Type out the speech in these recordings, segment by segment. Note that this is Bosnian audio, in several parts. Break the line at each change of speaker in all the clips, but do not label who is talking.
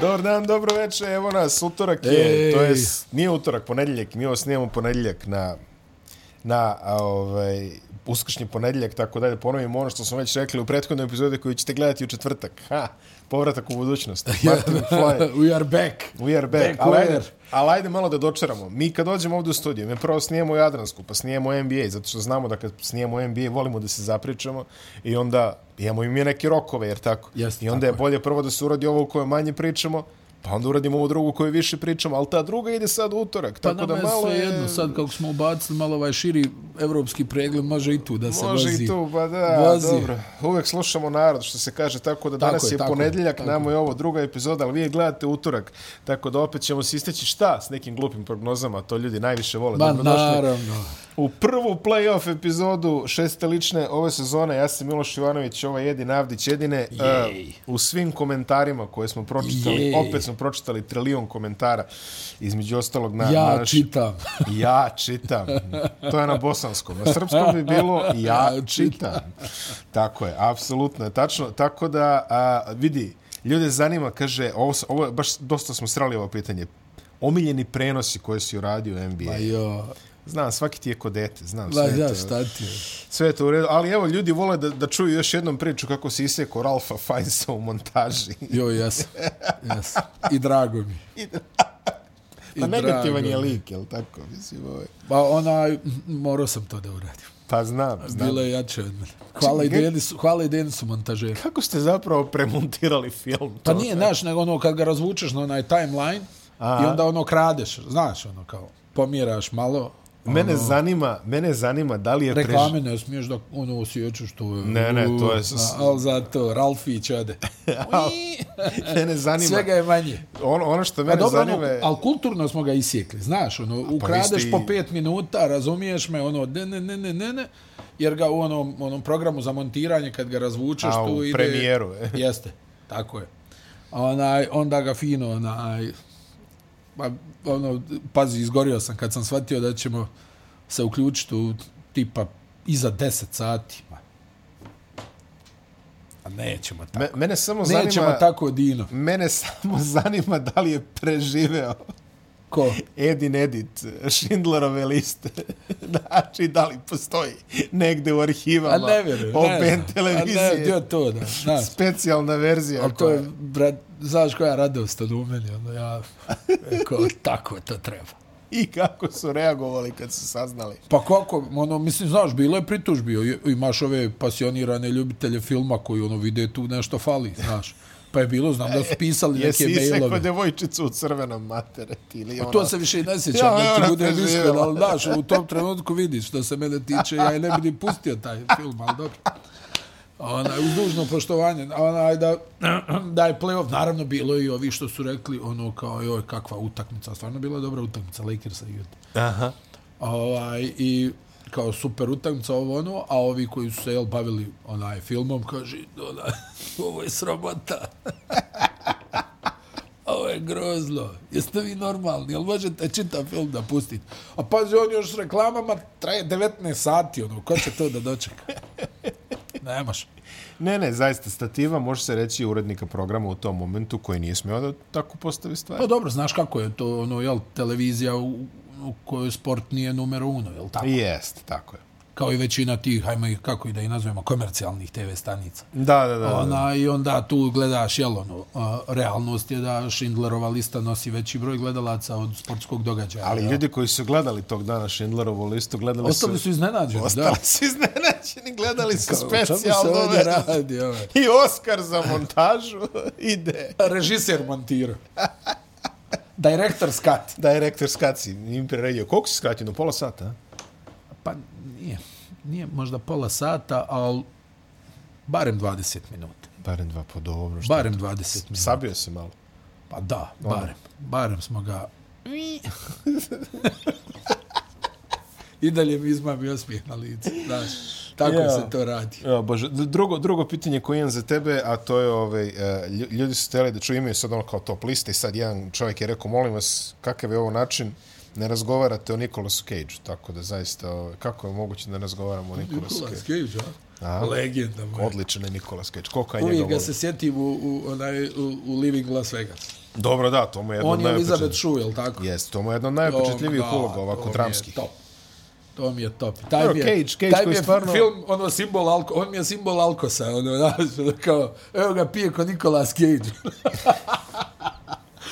Dobar dan, dobro veče, evo nas, utorak
Ej.
je, to je, nije utorak, ponedjeljak, mi ovo snijemo ponedjeljak na, na a, ovaj, uskršnji ponedjeljak, tako da da ponovimo ono što smo već rekli u prethodnoj epizodi koju ćete gledati u četvrtak. Ha, povratak u budućnost. Martin McFly,
We are back.
we are back.
Back
ali, ajde,
weather.
ali ajde malo da dočeramo. Mi kad dođemo ovdje u studiju, mi prvo snijemo Jadransku, pa snijemo NBA, zato što znamo da kad snijemo NBA volimo da se zapričamo i onda imamo i mi neke rokove, jer tako?
Jeste,
I onda
tako
je bolje prvo da se uradi ovo u kojoj manje pričamo, pa onda uradimo ovu drugu koju više pričamo, ali ta druga ide sad u utorak,
Pa
tako da
nama je
malo
sve
je...
jedno, sad kako smo ubacili malo ovaj širi evropski pregled, može i tu da se
Može
vozi.
i tu, pa da,
Vozi.
dobro. Uvek slušamo narod, što se kaže, tako da
Tako
danas
je,
je,
tako je,
ponedjeljak,
tako
nama je ovo druga epizoda, ali vi je gledate utorak, tako da opet ćemo se isteći šta s nekim glupim prognozama, to ljudi najviše vole.
Ma
Dobrodošli
naravno.
u prvu play-off epizodu šeste lične ove sezone. Ja sam Miloš Ivanović, ovo je Jedin Avdić. Jedine,
Jej.
uh, u svim komentarima koje smo pročitali,
Jej.
opet smo pročitali trilion komentara, između ostalog na, na
Ja
naš-
čitam.
Ja čitam. To je na bosanskom. Na srpskom bi bilo ja
Ja
čitam. Tako je, apsolutno je tačno. Tako da, a, vidi, ljude zanima, kaže, ovo, s- ovo je, baš dosta smo srali ovo pitanje. Omiljeni prenosi koje si uradio u NBA.
Pa jo,
Znam, svaki ti je ko dete, znam.
la,
sve, je
ja,
to,
šta ti je?
sve je to u redu. Ali evo, ljudi vole da, da čuju još jednom priču kako si isekao Ralfa Fajnsa u montaži.
Jo, jesam. Jesam. I drago mi. I
Pa negativan
drago
je
mi.
lik, jel tako? Mislim, ovo je.
Pa onaj, m, morao sam to da uradim.
Pa znam, znam.
Bilo je jače od mene. Hvala i
Čekaj,
Denisu, hvala i Denisu montažeru.
Kako ste zapravo premontirali film?
Pa
To-
nije, znaš, nego ono kad ga razvučeš na onaj timeline
Aha.
i onda ono kradeš, znaš, ono kao, pomiraš malo,
Mene zanima, mene zanima da li je preživio.
Ono- reklame ne smiješ da ono osjećaš to. je-
Ne, ne, to je s-
A, ali zato, Ralfić ode. Uii,
Mene zanima.
Svega je manje.
Ono, ono što
Pa
mene
dobro, ono,
zanima je...
ali kulturno smo ga isjekli, znaš, ono, ukradeš
i-
po pet minuta, razumiješ me, ono, ne, ne, ne, ne, ne, ne, jer ga u onom, onom programu za montiranje, kad ga razvučeš,
A,
tu
u
ide...
premijeru, e.
Jeste, tako je. Onaj, onda ga fino, onaj, pa, ono, pazi, izgorio sam kad sam shvatio da ćemo se uključiti u tipa iza 10 sati, ma. A nećemo tako.
Me, mene samo
Nećemo
zanima...
tako, Dino.
Mene samo zanima da li je preživeo
Ko?
Edin Edit Schindlerove liste. Znači, da li postoji negde u
A
arhivama
ne vjerujem. ne
OBN
znam. A ne,
televizije.
gdje to, da, znaš.
specijalna verzija.
Ali to je, brat, znaš koja radost od u meni, ono ja, ko, tako to treba.
I kako su reagovali kad su saznali.
Pa kako, ono, mislim, znaš, bilo je pritužbi, i- imaš ove pasionirane ljubitelje filma koji, ono, vide tu nešto fali, znaš. Pa je bilo, znam da su pisali neke
Jesi isekao
mailove.
devojčicu u crvenom materet ili ono...
To se više i ne sjećam,
Ja,
da
ona
ti budem
preživjela.
iskren, ali znaš, u tom trenutku vidiš što se mene tiče, ja i ne bi ni pustio taj film, ali dobro. Ona, uz dužno poštovanje, onaj da, da je playoff, naravno bilo je i ovi što su rekli, ono kao, joj, kakva utakmica, stvarno bila je dobra utakmica, Lakersa i Utah
Aha.
ovaj, i kao super utakmica ovo ono, a ovi koji su se jel, bavili onaj filmom, kaže, onaj, ovo je sramota. ovo je grozno. Jeste vi normalni? Jel možete čitav film da pustite? A pazi, on još s reklamama traje 19 sati, ono, ko će to da dočeka? Nemaš.
Ne, ne, zaista, stativa može se reći urednika programa u tom momentu koji nije smio da tako postavi
Pa
stvari.
dobro, znaš kako je to, ono, jel, televizija u, u kojoj sport nije numero uno, jel tako?
Jest, tako je.
Kao i većina tih, hajmo ih, kako i da ih nazovemo, komercijalnih TV stanica.
Da, da, da. da.
Ona, I onda tu gledaš, jel ono, a, realnost je da Schindlerova lista nosi veći broj gledalaca od sportskog događaja.
Ali
jel?
ljudi koji su gledali tog dana Schindlerovu listu, gledali
Ostali
su...
su iznenađeni, da.
Ostali su iznenađeni, gledali su
O čemu se
specijalno
ovdje
verziju.
radi? Ovaj?
I Oscar za montažu ide.
Režiser montira. Director skat.
Direktor skaci, im priredio. Koliko si skratio? No, pola sata? a?
Pa nije, nije možda pola sata, ali barem 20 minuta.
Barem dva po dobro. Što...
Barem 20 minuta.
Sabio se malo.
Pa da, barem. Barem smo ga... I dalje mi izmami osmijeh na lice. Znaš, tako
Ja.
se to radi.
Ja, bože, drugo, drugo pitanje koje imam za tebe, a to je, ovaj, e, lju- ljudi su htjeli da čuju, imaju sad ono kao top liste i sad jedan čovjek je rekao, molim vas, kakav je ovo način ne razgovarate o Nikolasu Cage-u, tako da zaista, ovaj, kako je moguće da ne razgovaramo o Nikolasu
Nikolas
Cage-u?
Cage, a?
A?
Legenda moja.
Odličan je Nikolas Cage, koliko ja njega
Uvijek ga
volim.
se sjetim u, u, onaj, u, u Living Las Vegas.
Dobro, da, to mu je jedno
On
od
je Elizabeth
najopečetljivijih.
Shue, je li tako?
Jest, to mu je jedno od
To-
najopečetljivijih
da,
uloga
to
ovako
mi je
dramskih.
Top. To mi je top. Taj
Evo,
mi je,
Cage, Cage
taj
koji
mi je
stvarno-
film, ono, simbol alko, on mi je simbol alkosa, ono, znaš, kao, evo ga pije ko Nikolas Cage.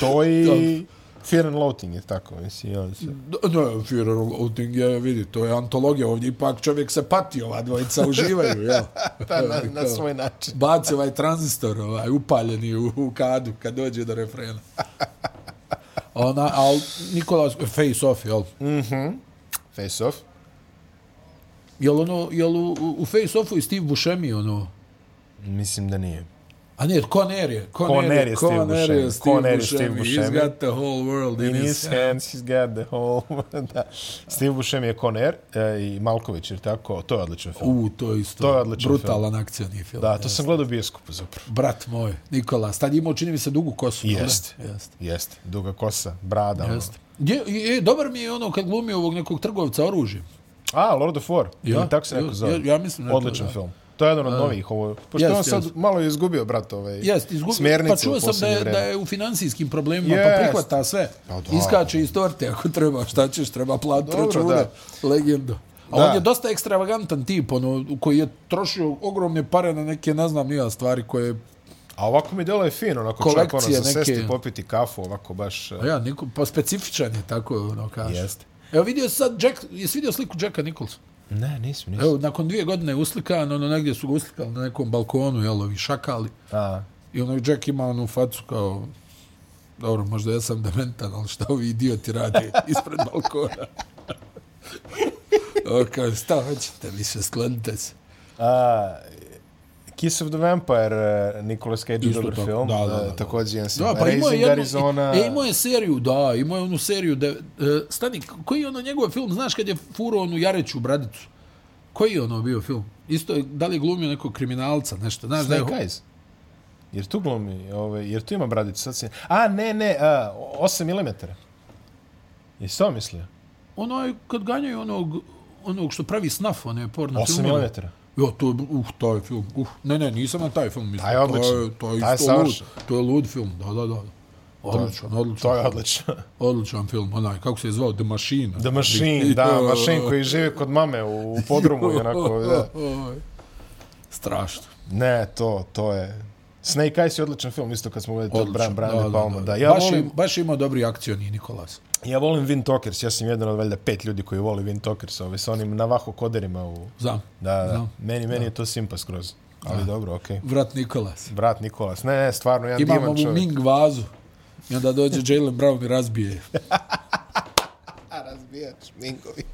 To i Fear and Loathing je tako, mislim, on se...
Da, Ne, Führer Outing je, vidi, to je antologija, ovdje ipak čovjek se pati, ova dvojica uživaju, jel?
Da, Pa, na, na svoj način.
Baci ovaj tranzistor, ovaj, upaljeni u, u kadu, kad dođe do refrena. Ona, al, Nikolas, face off, jel?
Face Off.
Jel ono, jel u, u- u face offu i Steve Buscemi, ono,
Mislim da nije.
A Pa ne, Conner je.
Conner je Steve Buscemi. Conner je Steve
He's
Buscemi.
got the whole world in
In his
his hand.
hands, he's got the whole... da. Steve Buscemi je Con Air e, i Malković, jer tako? To je odličan film.
U, to je isto.
To je odličan
Brutalan akcioni film.
Da, to sam gledao u bioskopu zapravo.
Brat moj, Nikola, tad je imao, čini mi se, dugu kosu. jel da?
Jest.
Jest.
Jeste, duga kosa, brada. ono.
Jest. Je, je, dobar mi je ono kad glumi ovog nekog trgovca oružjem.
A, Lord of War.
Ja,
Ili tako se
ja,
neko zove.
ja mislim da je to,
Odličan
da.
film. To je jedan od novih. Ovo, pošto
Jest,
on sad
jest.
malo je izgubio, brat, ovaj,
Jest, izgubio.
smernice
pa čuo
u
sam da
posljednje
je,
vreme.
da je u financijskim problemima,
Jest.
pa prihvata sve.
Pa da.
Iskače iz torte ako treba, šta ćeš, treba platiti
Dobro,
račune. Legenda. A
Da.
on je dosta ekstravagantan tip, ono, koji je trošio ogromne pare na neke, ne znam, nija stvari koje...
A ovako mi delo je fino, onako čovjek ono,
Kolekcije
za sesti,
neke.
popiti kafu, ovako baš... e.
A ja, niko, pa specifičan je, tako ono kaže.
Jeste.
Evo vidio si sad, Jack, jesi vidio sliku Jacka Nicholsona?
Ne, nisam, nisam.
Evo, nakon dvije godine je uslikan, ono, negdje su ga uslikali na nekom balkonu, jel, ovi šakali.
A,
I onaj Jack ima onu facu kao, dobro, možda ja sam dementan, ali šta ovi idioti rade ispred balkona? o, kao, šta hoćete, više sklonite se.
a, Kiss of the Vampire, eh, Nicolas Cage je
Isto
dobar
tako,
film.
da, da, da.
eh, Također jedan sam.
Da, pa imao je,
Raising
jednu,
Arizona.
e, imao je seriju, da, imao je onu seriju. De, e, stani, k- koji je ono njegov film, znaš kad je furo onu Jareću bradicu? Koji je ono bio film? Isto je, da li je glumio nekog kriminalca, nešto, znaš da je...
Snake Eyes. Jer tu glumi, ovaj, jer tu ima bradicu. Sad se... A, ne, ne, a, 8 mm. Jesi to mislio?
Onaj, kad ganjaju onog, onog što pravi snaf, one porno
8
filmove.
mm.
Jo, to je, uh, to je film. Uh, ne, ne, nisam na taj film. mislio.
Taj je odličan.
To je, to je,
Taj je
isto lud,
savršen.
to je lud film, da, da, da. Odličan, odličan.
To je odlično.
Odličan film, onaj, kako se je zvao, The Machine.
The Machine, da, Machine koji živi kod mame u podrumu i onako, da.
Strašno.
Ne, to, to je... Snake Eyes je odličan film, isto kad smo gledali to
Odličan.
Brian, Brian De Palma. Da, ja,
baš,
volim,
im, baš ima dobri akcioni, Nikolas.
ja volim Vin Talkers, ja sam jedan od valjda pet ljudi koji voli Vin Talkers, ovaj, sa onim Navajo koderima u...
Znam.
Da, da.
Znam.
Meni, meni je to simpa skroz. Ali dobro, okej.
Vrat Nikolas.
Brat Nikolas, ne, ne, stvarno, jedan
Imamo
divan
ovu
čovjek.
Ming vazu. I onda dođe Jalen Brown i razbije.
A razbijač mingovi.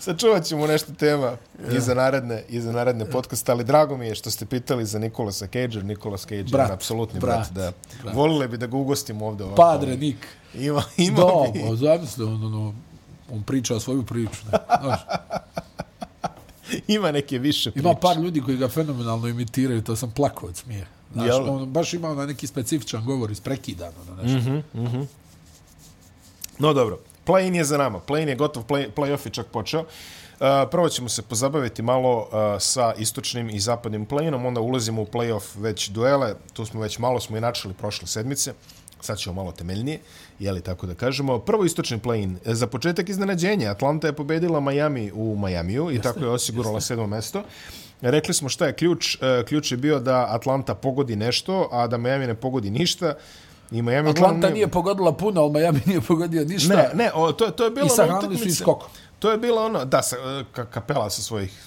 Sačuvat ćemo nešto tema i za naredne, i za naredne podcaste, ali drago mi je što ste pitali za Nikolasa Cage-a. Nikolas Cage je
Brat,
jedan apsolutni
brat,
brat. da. Volile bi da ga ugostimo ovde. Ovako.
Padre Nik.
Ima, ima bi.
Dobro, zamisli, on, ono, on priča svoju priču. Ne? Znaš,
Ima neke više priče.
Ima par ljudi koji ga fenomenalno imitiraju, to sam plakao od smije. Znaš,
Jel? Mhm.
on baš ima onaj neki specifičan govor isprekidan, ono nešto.
No dobro, play-in je za nama. Play-in je gotov, play, play-off je čak počeo. Uh, prvo ćemo se pozabaviti malo uh, sa istočnim i zapadnim play-inom, onda ulazimo u play-off već duele, tu smo već malo smo i načeli prošle sedmice, sad ćemo malo temeljnije, jeli tako da kažemo. Prvo istočni play-in, E, za početak iznenađenje, Atlanta je pobedila Miami u Majamiju i tako je osigurala sedmo mesto. Rekli smo šta je ključ, E, ključ je bio da Atlanta pogodi nešto, a da Miami ne pogodi ništa. I Miami uglavnom
Atlanta nije pogodila puno, ali Miami nije pogodio ništa.
Ne, ne, o, to, je- to je bila
I
ona
sahranili su i
utakmica.
skokom.
To je bila ona, da, sa, e, ka, kapela sa svojih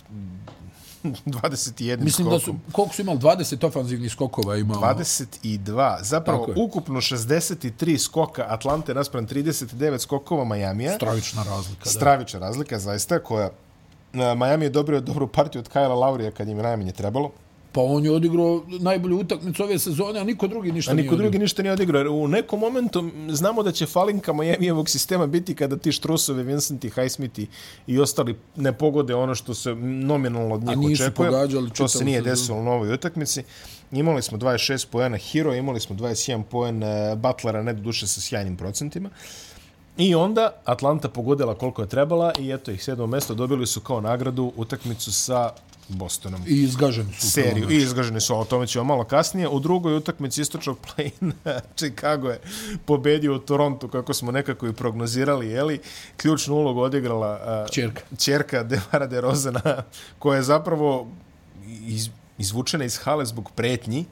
mm, 21
Mislim da su,
skokom.
koliko su imali, 20 ofanzivnih skokova ono, imao.
22, zapravo
Tako je.
ukupno 63 skoka Atlante naspram 39 skokova Majamija.
Stravična razlika. da.
Stravična razlika, zaista, koja... e, Miami je dobrio dobru partiju od Kajla Laurija kad im je najmanje trebalo.
Pa on je odigrao najbolju utakmicu ove sezone, a niko drugi ništa
A
nije
niko
odigrao.
drugi ništa nije odigrao. jer U nekom momentu m, znamo da će falinka Miamijevog sistema biti kada ti Štrusovi, Vincenti, Highsmithi i ostali ne pogode ono što se nominalno od njih
nisu
očekuje.
pogađali
to
čitavu
se nije
sezonu.
desilo u novoj utakmici. Imali smo 26 poena Hero, imali smo 21 poen e, Butlera, ne do duše sa sjajnim procentima. I onda Atlanta pogodila koliko je trebala i eto ih sedmo mesto dobili su kao nagradu utakmicu sa Bostonom.
I izgaženi su. u
seriju
prvom
i izgaženi su, ali o tome ćemo malo kasnije. U drugoj utakmici istočnog plejna Chicago je pobedio u Torontu, kako smo nekako i prognozirali, jeli? Ključnu ulogu odigrala a,
Ćerka.
ćerka Devara de Rozana, koja je zapravo iz, izvučena iz hale zbog pretnji,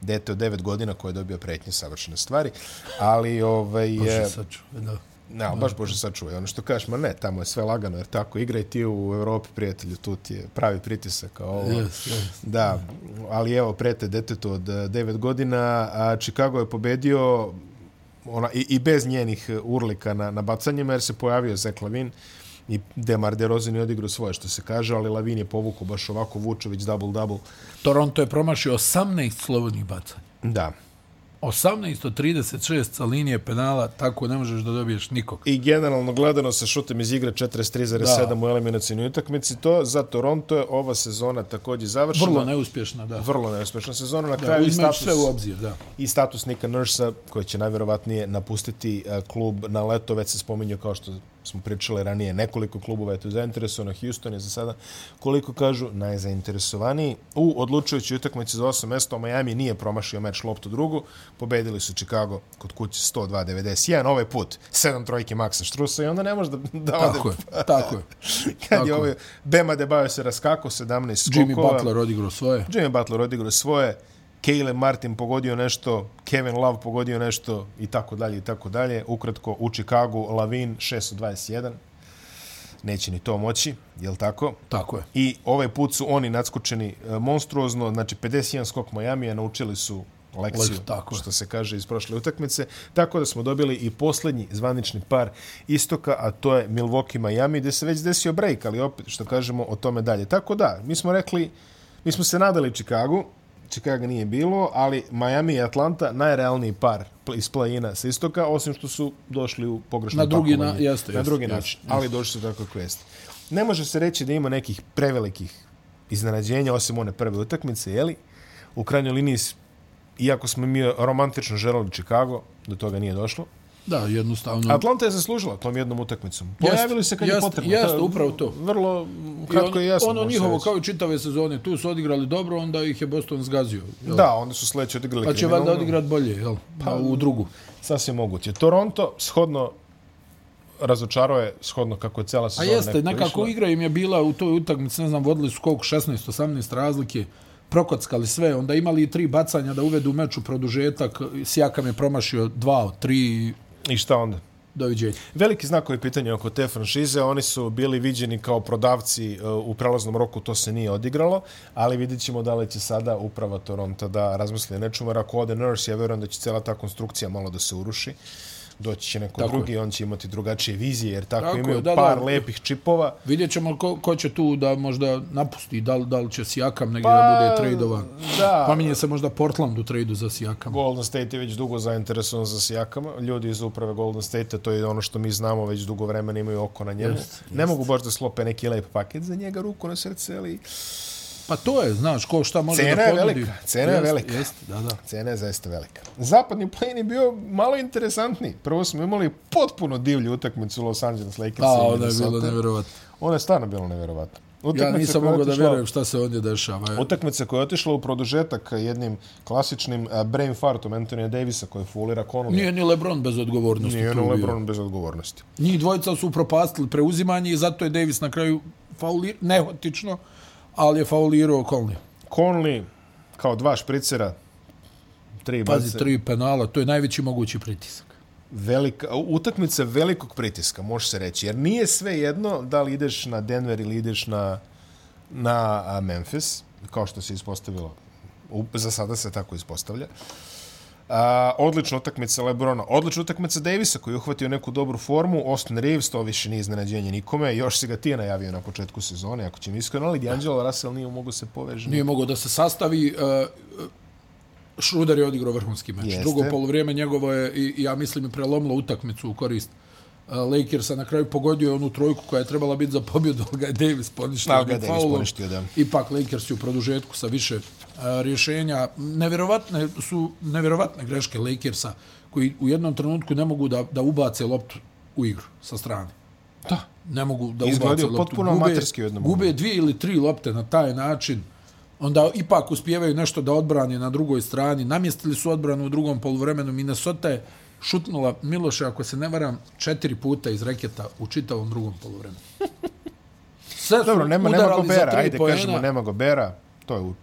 dete od 9 godina koje je dobio pretnje savršene stvari, ali ovaj,
Je.
je,
Sačuvaj, da.
ne, ali baš Bože sačuvaj, ono što kažeš, ma ne, tamo je sve lagano, jer tako igra i ti u Evropi, prijatelju, tu ti je pravi pritisak, a ovo,
Yes, yes.
Da, ali evo, prete detetu od e, 9 godina, a Chicago je pobedio ona, i, i bez njenih e, urlika na, na bacanjima, jer se pojavio Zach Lavin i Demar DeRozan je odigrao svoje, što se kaže, ali Lavin je povukao baš ovako Vučević double-double.
Toronto je promašio 18 slobodnih bacanja.
Da.
18 od 36 sa linije penala, tako ne možeš da dobiješ nikog.
I generalno gledano sa šutem iz igre 43,7 u eliminacijnoj utakmici, to za Toronto je ova sezona takođe završena.
Vrlo neuspješna, da.
vrlo neuspešna sezona. Na
da
kraju i
uzmeš
status...
sve u obzir, da.
i status Nika Nursa koji će najverovatnije napustiti e, klub na leto, već se spominju kao što smo pričali ranije, nekoliko klubova je tu zainteresovano, Houston je za sada koliko kažu najzainteresovaniji u odlučujućoj utakmici za 8 mesta Miami nije promašio meč loptu drugu pobedili su Chicago kod kuće 102-91, ovaj put 7 trojke Maxa Strusa i onda ne može da, da ode
Tako je, tako je.
kad je
tako
ovaj Bema Debajo se raskako 17 skokova
Jimmy Butler odigrao svoje.
Jimmy Butler odigrao svoje, Caleb Martin pogodio nešto, Kevin Love pogodio nešto i tako dalje i tako dalje. Ukratko, u Chicagu Lavin 621. Neće ni to moći, jel tako?
Tako je.
I ovaj put su oni nadskučeni e, monstruozno, znači 51 skok Majamija, naučili su lekciju,
Lek- tako je.
što se kaže iz prošle utakmice. Tako da smo dobili i posljednji zvanični par istoka, a to je Milwaukee Miami, gdje se već desio break, ali opet što kažemo o tome dalje. Tako da, mi smo rekli, mi smo se nadali Chicagu, Chicago nije bilo, ali Miami i Atlanta najrealniji par pl- iz play-ina sa istoka, osim što su došli u pogrešno
Na drugi
pakovanje.
na- jeste,
na
jeste,
drugi
jeste.
način ali došli su tako kako jeste. Ne može se reći da ima nekih prevelikih iznenađenja, osim one prve utakmice, jeli? U krajnjoj liniji, s- iako smo mi romantično želeli Chicago, do toga nije došlo.
Da, jednostavno.
Atlanta je zaslužila tom jednom utakmicom.
Mm. Jeste,
Pojavili se kad je
jeste,
potrebno.
jeste,
To je
upravo to.
Vrlo mm, kratko i jasno.
Ono
može se
njihovo,
reći.
kao i čitave sezone, tu su odigrali dobro, onda ih je Boston zgazio. jel?
Da, onda su sledeće odigrali
Pa će
kriminalno.
valjda odigrat bolje, jel? Pa u drugu.
Sasvim moguće. Toronto, shodno razočarao je, shodno kako je cela
A
sezona
jeste,
nekako
nekako
išla.
igra im je bila u toj utakmici, ne znam, vodili su koliko, 16, 18 razlike, prokockali sve, onda imali i tri bacanja da uvedu meč u produžetak, Sijakam je promašio dva od tri i
I šta onda?
doviđenja.
Veliki znakovi pitanja oko te franšize, oni su bili viđeni kao prodavci e, u prelaznom roku, to se nije odigralo, ali vidit ćemo da li će sada uprava Toronto da razmisli o nečemu, jer ako ode Nurse, ja verujem da će cela ta konstrukcija malo da se uruši, doći će neko
Tako
tako drugi, on će imati drugačije vizije, jer tako, tako
Tako je,
imaju
da,
da, par
da.
da, lepih čipova.
Vidjet ćemo ko, ko će tu da možda napusti, da li, da li će Sijakam negdje
Pa,
da bude tradovan.
da.
Pominje se možda Portland u tradu za Sijakam.
Golden State je već dugo zainteresovan za Sijakama. Ljudi iz uprave Golden State, to je ono što mi znamo, već dugo vremena imaju oko na njemu. Just, ne mogu baš da slope neki lep paket za njega, ruku na srce, ali...
Pa to je, znaš, ko šta može
Cena
da
je
ponudi.
velika, cena je
Jest,
velika.
Jest, da, da.
Cena je zaista velika. Zapadni plane je bio malo interesantniji. Prvo smo imali potpuno divlju utakmicu Los Angeles Lakers.
A, onda je bilo nevjerovatno.
Ona je stvarno bila nevjerovatna.
Ja
Utakmica
nisam
koja je
mogao da
otišla-
vjerujem šta se ovdje dešava.
Utakmica koja je otišla u produžetak jednim klasičnim a, brain fartom Antonija Davisa koji fulira Connolly.
Nije ni Lebron bez odgovornosti.
Nije
tu
ono
bio.
Lebron bez odgovornosti.
Njih dvojica su upropastili preuzimanje i zato je Davis na kraju faulir, nehotično, ali je faulirao Conley.
Conley kao dva špricera, tri
Pazi,
bace.
tri penala, to je najveći mogući pritisak.
velika, utakmica velikog pritiska, može se reći, jer nije sve jedno da li ideš na Denver ili ideš na, na a, Memphis, kao što se ispostavilo, U, za sada se tako ispostavlja. A, odlična utakmica Lebrona, odlična utakmica Davisa koji je uhvatio neku dobru formu, Austin Reeves, to više nije iznenađenje nikome, još se ga ti je najavio na početku sezone, ako ćemo iskreno, ali D'Angelo Russell nije mogao se poveže.
Nije mogao da se sastavi, uh, Šruder je odigrao vrhunski meč.
Jeste.
Drugo polovrijeme njegovo je, i, i ja mislim, i prelomilo utakmicu u korist. Uh, Lakersa na kraju pogodio je onu trojku koja je trebala biti za pobjedu, ali ga je Davis poništio.
Ali Pa, ga je
jednim
Davis
faulom.
poništio, da.
Ipak Lakers je u produžetku sa više uh, rješenja. Neverovatne su neverovatne greške Lakersa koji u jednom trenutku ne mogu da, da ubace loptu u igru sa strane.
Da.
Ne mogu da
Izgledaju
ubace loptu.
potpuno
Gube-
amaterski u jednom
Gube
momentu.
dvije ili tri lopte na taj način. Onda ipak uspijevaju nešto da odbrane na drugoj strani. Namjestili su odbranu u drugom poluvremenu. Minnesota je šutnula Miloše, ako se ne varam, četiri puta iz reketa u čitavom drugom poluvremenu. Sve su
Dobro, nema, nema
udarali za
Gobera,
tri
ajde
poena.
kažemo nema Gobera, to je u...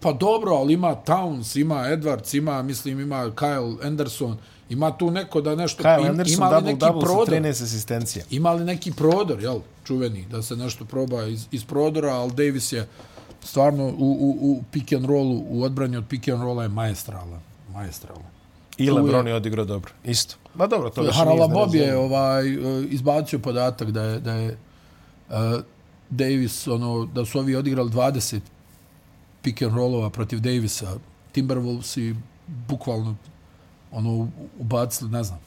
Pa dobro, ali ima Towns, ima Edwards, ima, mislim, ima Kyle Anderson, ima tu neko da nešto...
Kyle
im-
Anderson
ima li
double-double
neki
sa
prodor?
13 asistencija.
Ima li neki prodor, jel, čuveni, da se nešto proba iz, iz prodora, ali Davis je stvarno u, u, u pick and rollu, u odbranju od pick and rolla je maestralan. Maestralan.
I
je-
Lebron je odigrao dobro, isto. Ma dobro, to više
Harala
nije
Bob je
iznenađenje.
ovaj, e, izbacio podatak da je, da je uh, Davis, ono, da su ovi odigrali 20 pick and rollova protiv Davisa. Timberwolves i bukvalno ono, ubacili, ne znam,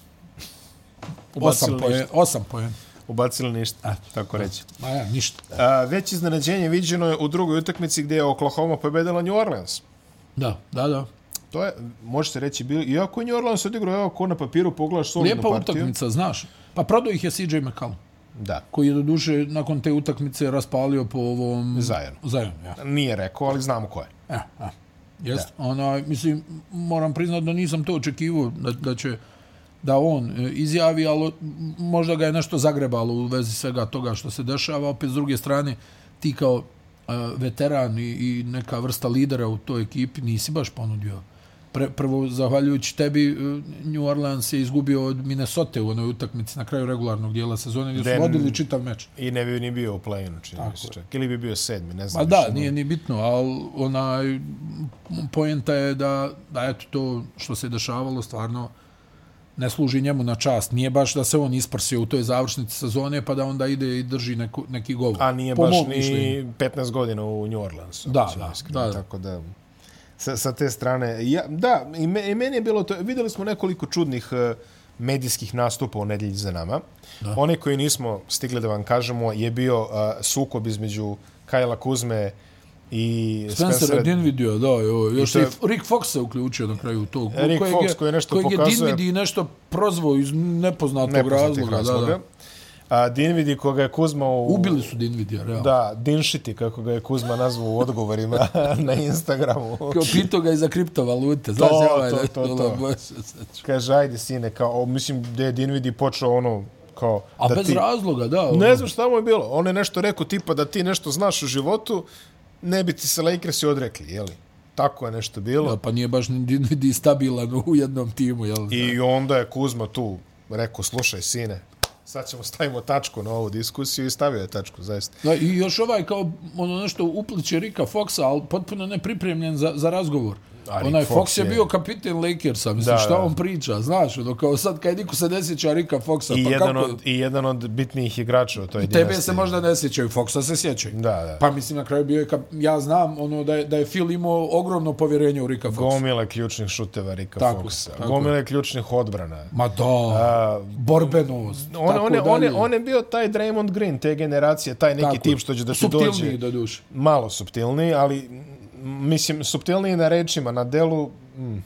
Ubacili
8 poen,
ništa.
8 poen.
Ubacili ništa, tako reći.
Ma ja, ništa.
A, već iznenađenje viđeno je u drugoj utakmici gdje je Oklahoma pobedila New Orleans.
Da, da, da.
To je, možete reći, bilo, iako je New Orleans odigrao, evo ko na papiru pogledaš solidnu
Lijepa
partiju.
utakmica, znaš. Pa prodao ih je CJ McCallum,
Da.
koji je doduše nakon te utakmice raspalio po ovom...
Zionu.
Zajonu, ja.
Nije rekao, ali znamo ko je.
E, e. Jest. Ona, mislim, moram priznat da nisam to očekivao da, da će da on e, izjavi, ali m- možda ga je nešto zagrebalo u vezi svega toga što se dešava. Opet, s druge strane, ti kao e, veteran i, i neka vrsta lidera u toj ekipi nisi baš ponudio. Pre, prvo, zahvaljujući tebi, e, New Orleans je izgubio od Minnesota u onoj utakmici na kraju regularnog dijela sezone gdje
Den-
su vodili čitav meč.
I ne bi ni bio u play-inu, čini mi se
Tako je.
čak. Ili bi bio sedmi, ne znam.
Pa
više,
da,
no.
nije ni bitno, ali onaj, m, poenta je da, da eto to što se dešavalo stvarno ne služi njemu na čast. Nije baš da se on isprsio u toj završnici sezone pa da onda ide i drži neku, neki gol.
A nije
Po
baš
mom
ni
mišljenju.
15 godina u New Orleansu.
Da,
ako ćemo
da,
iskreno,
da, da.
Tako da, sa, sa te strane, ja, da, i, me, i meni je bilo to, videli smo nekoliko čudnih eh, medijskih nastupa u nedelji za nama. Da. One koji nismo stigli da vam kažemo je bio uh, sukob između Kajla Kuzme i
Spencer je Dinvidio, da, jo, još
to
je...
je-
Rick Fox se uključio na kraju tog.
Rick
kojeg
Fox koji nešto
kojeg
pokazuje.
je Dinvidi nešto prozvao iz nepoznatog,
nepoznatih
razloga. razloga. Da, da.
A Dinvidi koga je Kuzma u...
Ubili su Dinvidija, realno.
Da, Dinšiti, kako ga je Kuzma nazvao u odgovorima na Instagramu.
Kao pitao ga i za kriptovalute. Znaš,
To,
ovaj,
to,
da-
to, to.
ono, baš-
Kaže, ajde sine, kao, o, mislim da je Dinvidi počeo ono, kao...
A
da
bez razloga, da. ono.
Ne znam šta mu je bilo. On je nešto rekao tipa da ti nešto znaš u životu, ne bi ti se Lakersi odrekli, jeli? Tako je nešto bilo.
Da, pa nije baš ni, ni, ni stabilan u jednom timu, jel? I...
I onda je Kuzma tu rekao, slušaj sine, sad ćemo stavimo tačku na ovu diskusiju i stavio je tačku, zaista.
Da, I još ovaj kao ono nešto upliče Rika Foxa, ali potpuno nepripremljen za, za razgovor.
A Rick
Onaj
Fox
Fox, je,
je-
bio kapiten Lakersa, mislim
Da,
šta
da.
on priča, znaš, ono kao sad kad niko se ne sjeća Rika Foxa,
I,
pa
jedan
kako...
od, I jedan od bitnijih igrača u toj
Tebe se
dinastiji.
možda ne sjećaju, Foxa se sjećaju.
Da, da.
Pa mislim na kraju bio je, kap... ja znam ono da je, da je Phil imao ogromno povjerenje u Rika Foxa.
Gomila ključnih šuteva Rika
Tako,
Foxa.
tako.
Gomila ključnih odbrana.
Ma da,
A,
borbenost,
on,
tako
on, je,
dalje.
on, je, on je bio taj Draymond Green, te generacije, taj neki
Tako.
tip što će da ti dođe.
Suptilniji do duše.
Malo suptilniji, ali m, mislim, suptilniji na rečima, na delu, mm,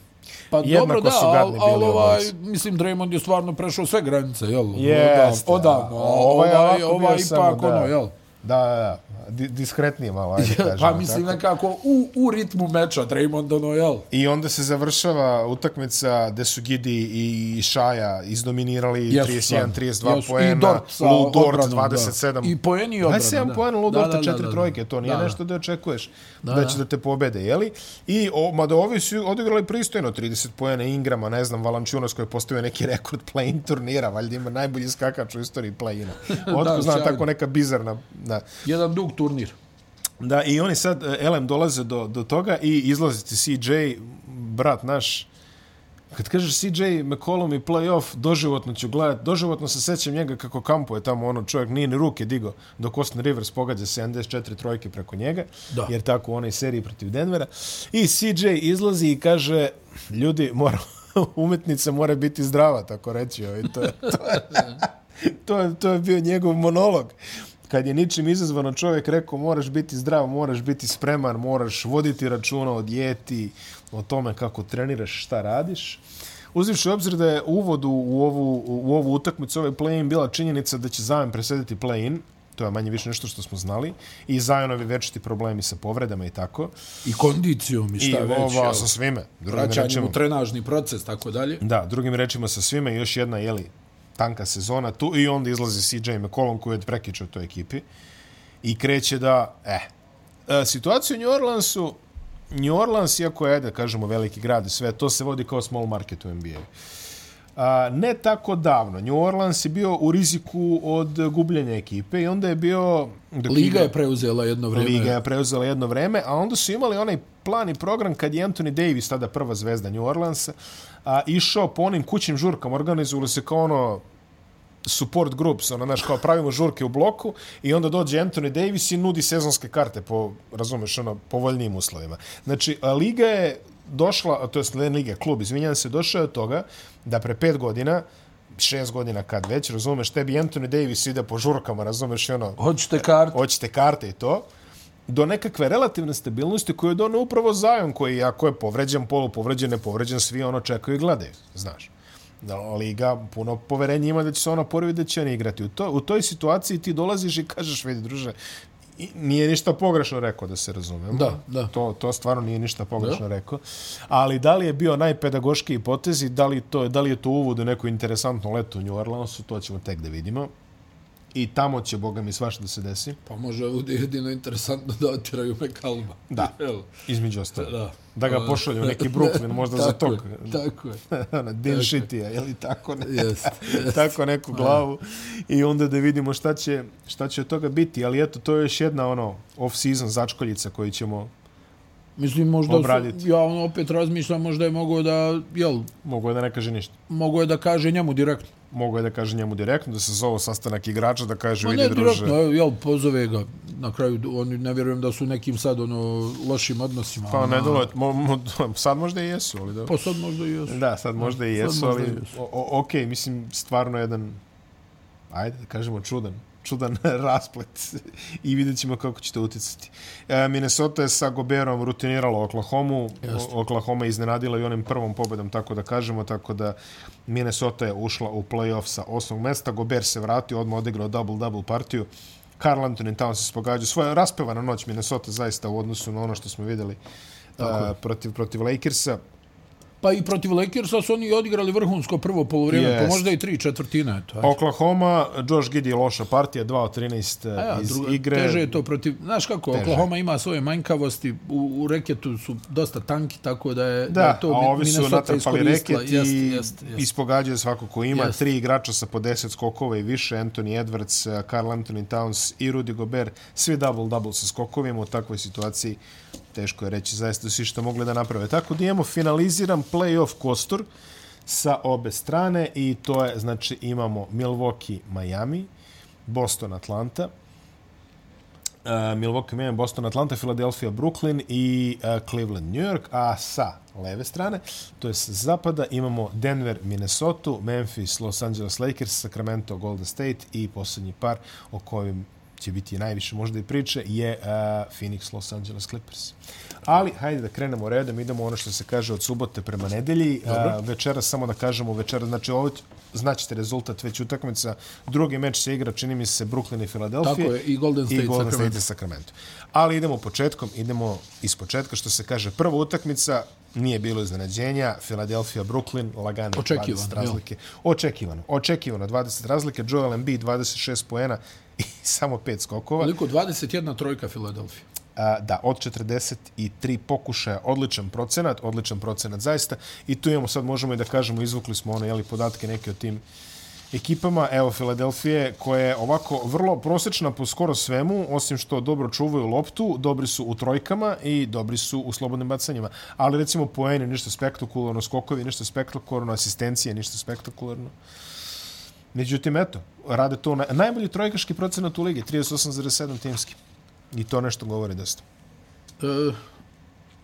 Pa
Jednako
dobro, da,
su gadni
ali al,
bili
ovaj,
obojica.
mislim, Draymond je stvarno prešao sve granice, jel?
Jeste,
Odav- Odavno,
da.
a
Ovaj
ovaj,
je
ovaj,
ovako bio
ovaj
samo,
ipak,
da.
ono, jel?
da, da, da, di- diskretnije malo, ajde kažemo.
Pa mislim
tako.
nekako u, u ritmu meča Draymond, ono, jel?
I onda se završava utakmica gde su Gidi i Šaja izdominirali
Jesu,
31-32
stvarno. Jesu. I
poena,
Dort sa
Lou Dort
odbranom, da.
27.
I poeni i odbrana,
27
da.
poena, Lou
Da,
Dorta
da, da,
4
da.
trojke, to nije
Da, da.
nešto da očekuješ da, da će da te pobede, jeli? I, o, mada ovi su odigrali pristojno, 30 poena Ingrama, ne znam, Valančunas koji je postavio neki rekord play-in turnira, valjda ima najbolji skakač u istoriji play-ina. Otko
Da,
znam,
sjajno.
tako neka bizarna... Da.
Jedan dug turnir.
Da, i oni sad, e, LM dolaze do, do toga i izlaziti CJ, brat naš, kad kažeš CJ McCollum i playoff, doživotno ću gledat, doživotno se sećam njega kako kampo je tamo, ono, čovjek nije ni ruke digo dok Austin Rivers pogađa 74 trojke preko njega,
Da.
jer tako u onoj seriji protiv Denvera. I CJ izlazi i kaže, ljudi, mora, umetnica mora biti zdrava, tako reći, ovaj, to je, to je, to je, to je bio njegov monolog. Kad je ničim izazvano čovjek rekao moraš biti zdrav, moraš biti spreman, moraš voditi računa o dijeti, o tome kako treniraš, šta radiš. uzivši u obzir da je uvod u u ovu, u ovu utakmicu, ovaj play-in, bila činjenica da će Zion presediti play-in, to je manje više nešto što smo znali, i Zionovi večiti problemi sa povredama i tako,
I kondicijom i
i
šta već.
ova
jel?
sa svime. Drugim
vraćanjem
rečima,
u trenažni proces, tako dalje.
da, drugim rečima sa svime, još jedna, jeli, tanka sezona tu i onda izlazi CJ McCollum koji je prekičao toj ekipi i kreće da, eh, E, situacija u New Orleansu, New Orleans, iako je, da kažemo, veliki grad i sve, to se vodi kao small market u NBA. A, ne tako davno. New Orleans je bio u riziku od e, gubljenja ekipe i onda je bio... dok
Liga
igra-
je preuzela jedno vreme.
Liga je preuzela jedno vreme, a onda su imali onaj plan i program kad je Anthony Davis, tada prva zvezda New Orleansa, a, išao po onim kućnim žurkama, organizovali se kao ono support groups, ono, znaš, kao pravimo žurke u bloku i onda dođe Anthony Davis i nudi sezonske karte po, razumeš, ono, povoljnijim uslovima. Znači, a, Liga je došla, a, to je ne Liga, klub, izvinjam se, došao je od toga da pre pet godina, šest godina kad već, razumeš, tebi Anthony Davis ide po žurkama, razumeš, i ono,
Hoćete kartu?
hoćete karte i to, do nekakve relativne stabilnosti koju je donio upravo Zion, koji ako je povređen, polupovređen, nepovređen, svi ono čekaju i gledaju, znaš. Da, Liga puno poverenja ima da će se ona oporavi da će oni igrati. U, to, u toj situaciji ti dolaziš i kažeš, vidi druže, i nije ništa pogrešno rekao da se razumemo.
Da, da.
To, to stvarno nije ništa pogrešno da. rekao. Ali da li je bio najpedagoškiji potez i da li, to, da li je to uvod u neko interesantno leto u New Orleansu, to ćemo tek da vidimo. I tamo će, boga mi, svašta da se desi.
Pa može ovdje jedino interesantno da otiraju Mekalba.
Da.
Jel?
Između ostalo. Da.
Da.
da ga pošalju u neki Brooklyn, možda za
tako
tog.
je, tako je.
Ona, Din Shitija, Ono, je li tako, ne,
Jest.
tako neku glavu. I onda da vidimo šta će, šta će od toga biti. Ali eto, to je još jedna ono off-season začkoljica koju ćemo,
Mislim, možda
Obraditi.
su, ja ono opet razmišljam, možda je mogao da, jel,
mogu je da ne kaže ništa.
mogao je da kaže njemu direktno.
Mogu je da kaže njemu direktno, da se zove sastanak igrača, da kaže,
Ma
vidi
ne
druže.
direktno, jel, pozove ga. Na kraju, oni ne vjerujem da su u nekim sad, ono, lošim odnosima.
Pa ne
ono.
dolo, mo, mo, sad možda i jesu, ali da.
Pa sad možda i jesu.
Da, sad možda i
Sad
jesu,
možda
ali
i jesu.
o, o, ok, mislim, stvarno jedan, ajde da kažemo čudan, čudan rasplet i vidjet ćemo kako će to uticati. E, Minnesota je sa Goberom rutinirala Oklahoma, Oklahoma je iznenadila i onim prvom pobedom, tako da kažemo, tako da Minnesota je ušla u playoff sa osmog mesta, Gober se vratio, odmah odigrao double-double partiju, Karl Anthony Towns se spogađao. Svoja raspevana noć Minnesota zaista u odnosu na ono što smo videli uh, protiv, protiv Lakersa.
Pa i protiv Lakersa su oni odigrali vrhunsko prvo polovrijeme,
Jest.
pa možda i tri četvrtine. To, ajde.
Oklahoma, Josh Giddy je loša partija, 2 od 13
Znači- A
ja, iz igre.
Teže je to protiv... Znaš kako, teže. Oklahoma ima svoje manjkavosti, u, u reketu su dosta tanki, tako da je,
Da,
je to
a
Mi-
ovi su
Minnesota
natrpali
iskoristila.
reket i jest,
Jest, jest, jest.
ispogađaju svako ko ima.
Jest.
Tri igrača sa po 10 skokova i više, Anthony Edwards, eh, Karl Anthony Towns i Rudy Gobert, svi double-double sa skokovima u takvoj situaciji. Teško je reći zaista svi što mogli da naprave. Tako da imamo finaliziran play-off kostur sa obe strane i to je, znači, imamo Milwaukee, Miami, Boston, Atlanta, Uh, Milwaukee, Miami, Boston, Atlanta, Philadelphia, Brooklyn i uh, Cleveland, New York, a sa leve strane, to je sa zapada, imamo Denver, Minnesota, Memphis, Los Angeles Lakers, Sacramento, Golden State i posljednji par o kojem će biti najviše možda i priče je uh, Phoenix Los Angeles Clippers. Ali hajde da krenemo redom, idemo ono što se kaže od subote prema nedelji. Uh, večera samo da kažemo večera, znači ovo će- znaćete rezultat već utakmica. Drugi meč se igra, čini mi se, Brooklyn i Philadelphia.
Tako je, i Golden State
i Golden
Sacramento.
State i Sacramento. Ali idemo početkom, idemo iz početka, što se kaže, prva utakmica, nije bilo iznenađenja, Philadelphia, Brooklyn, lagano
Očekivano,
20
jel?
razlike. Očekivano, očekivano, 20 razlike, Joel Embiid 26 poena i samo 5 skokova.
Koliko? 21 trojka Filadelfija.
A, da, od 43 pokušaja, odličan procenat, odličan procenat zaista. I tu imamo sad, možemo i da kažemo, izvukli smo ono, jeli, podatke neke o tim ekipama. Evo, Filadelfije, koja je ovako vrlo prosječna po skoro svemu, osim što dobro čuvaju loptu, dobri su u trojkama i dobri su u slobodnim bacanjima. Ali, recimo, poeni, ništa spektakularno, skokovi, ništa spektakularno, asistencije, ništa spektakularno. Međutim, eto, rade to na, najbolji trojkaški procenat u ligi, 38,7 timski. I to nešto govori dosta.
E,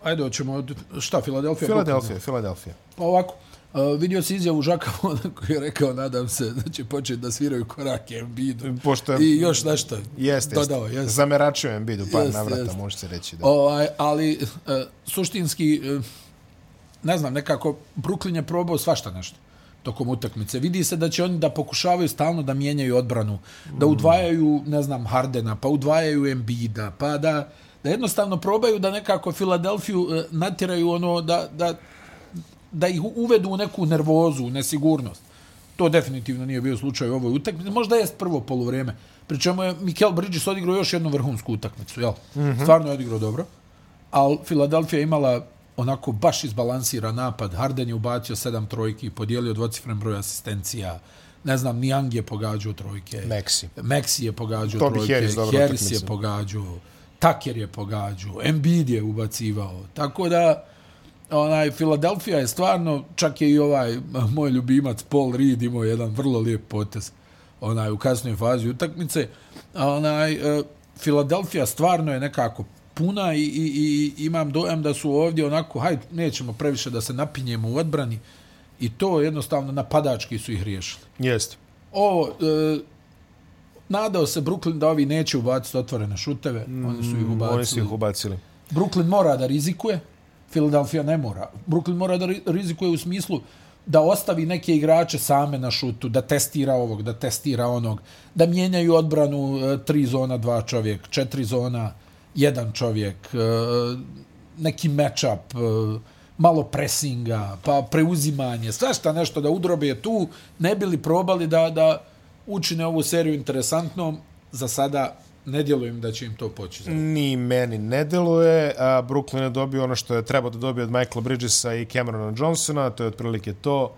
ajde, hoćemo od... Šta, Filadelfija?
Filadelfija, Filadelfija.
Pa ovako, e, vidio si izjavu Žaka Voda koji je rekao, nadam se da će početi da sviraju korake Embiidu.
Pošto je-
I još nešto.
Jeste,
Dodao,
jeste.
jeste.
Zameračio je Embiidu par
Jeste,
navrata,
jeste.
može se reći da.
Ovaj, ali e, suštinski e, eh, ne znam, nekako Brooklyn je probao svašta nešto tokom utakmice. Vidi se da će oni da pokušavaju stalno da mijenjaju odbranu, da udvajaju, ne znam, Hardena, pa udvajaju Embida, pa da, da jednostavno probaju da nekako Filadelfiju eh, natjeraju ono da, da, da ih uvedu u neku nervozu, u nesigurnost. To definitivno nije bio slučaj u ovoj utakmici. Možda jest prvo poluvrijeme. Pričemu je Mikel Bridges odigrao još jednu vrhunsku utakmicu, jel? Mm -hmm. Stvarno je odigrao dobro. Ali Filadelfija je imala onako baš izbalansiran napad. Harden je ubacio sedam trojki, podijelio dvocifren broj asistencija. Ne znam, Niang je pogađao trojke.
Maxi.
Maxi je pogađao
Toby
trojke.
Harris dobro
Harris je
utakmicu.
pogađao. Tucker je pogađao. Embiid je ubacivao. Tako da, onaj, Filadelfija je stvarno, čak je i ovaj eh, moj ljubimac Paul Reed imao jedan vrlo lijep potez onaj, u kasnoj fazi utakmice. A Onaj, eh, Filadelfija stvarno je nekako puna i, i, i imam dojam da su ovdje onako, hajde, nećemo previše da se napinjemo u odbrani i to jednostavno napadački su ih riješili
Jeste.
ovo, e, nadao se Brooklyn da ovi neće ubaciti otvorene šuteve, oni su ih ubacili.
Mm, Oni su ih ubacili.
Brooklyn mora da rizikuje, Philadelphia ne mora. Brooklyn mora da ri- rizikuje u smislu da ostavi neke igrače same na šutu, da testira ovog, da testira onog, da mijenjaju odbranu e, tri zona, dva čovjek, četiri zona, jedan čovjek, e, neki matchup, e, malo presinga, pa preuzimanje, svašta nešto da udrobe tu, ne bili probali da, da učine ovu seriju interesantnom, za sada ne djelujem da će im to poći. za
Ni meni ne deluje. A Brooklyn je dobio ono što je trebao da dobije od Michaela Bridgesa i Camerona Johnsona. To je otprilike to.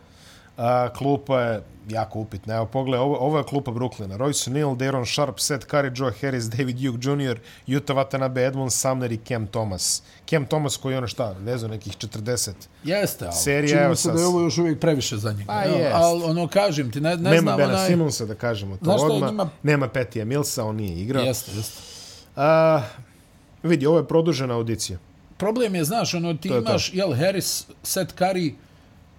A, klupa je jako upitna. Evo, pogledaj, ovo, ovo je klupa Brooklyna. Royce Neal, Daron Sharp, Seth Curry, Joe Harris, David Duke Jr., Utah Watanabe, Edmond Sumner i Cam Thomas. Cam Thomas koji je ono šta, ne znam, nekih 40.
Jeste, ali
Serija,
čini
evo
mi se
sad-
da je ovo još uvijek previše za njega.
Pa
Evo,
jest.
Ali ono, kažem ti, ne, ne
Nema
znam
Bena
onaj...
Simonsa, da kažemo to
Znaš šta je
odmah.
njima-
Nema Petija Millsa, on nije igrao.
Jeste, jeste.
A, vidi, ovo je produžena audicija.
Problem je, znaš, ono, ti
je to.
imaš, jel, Harris, Seth Curry,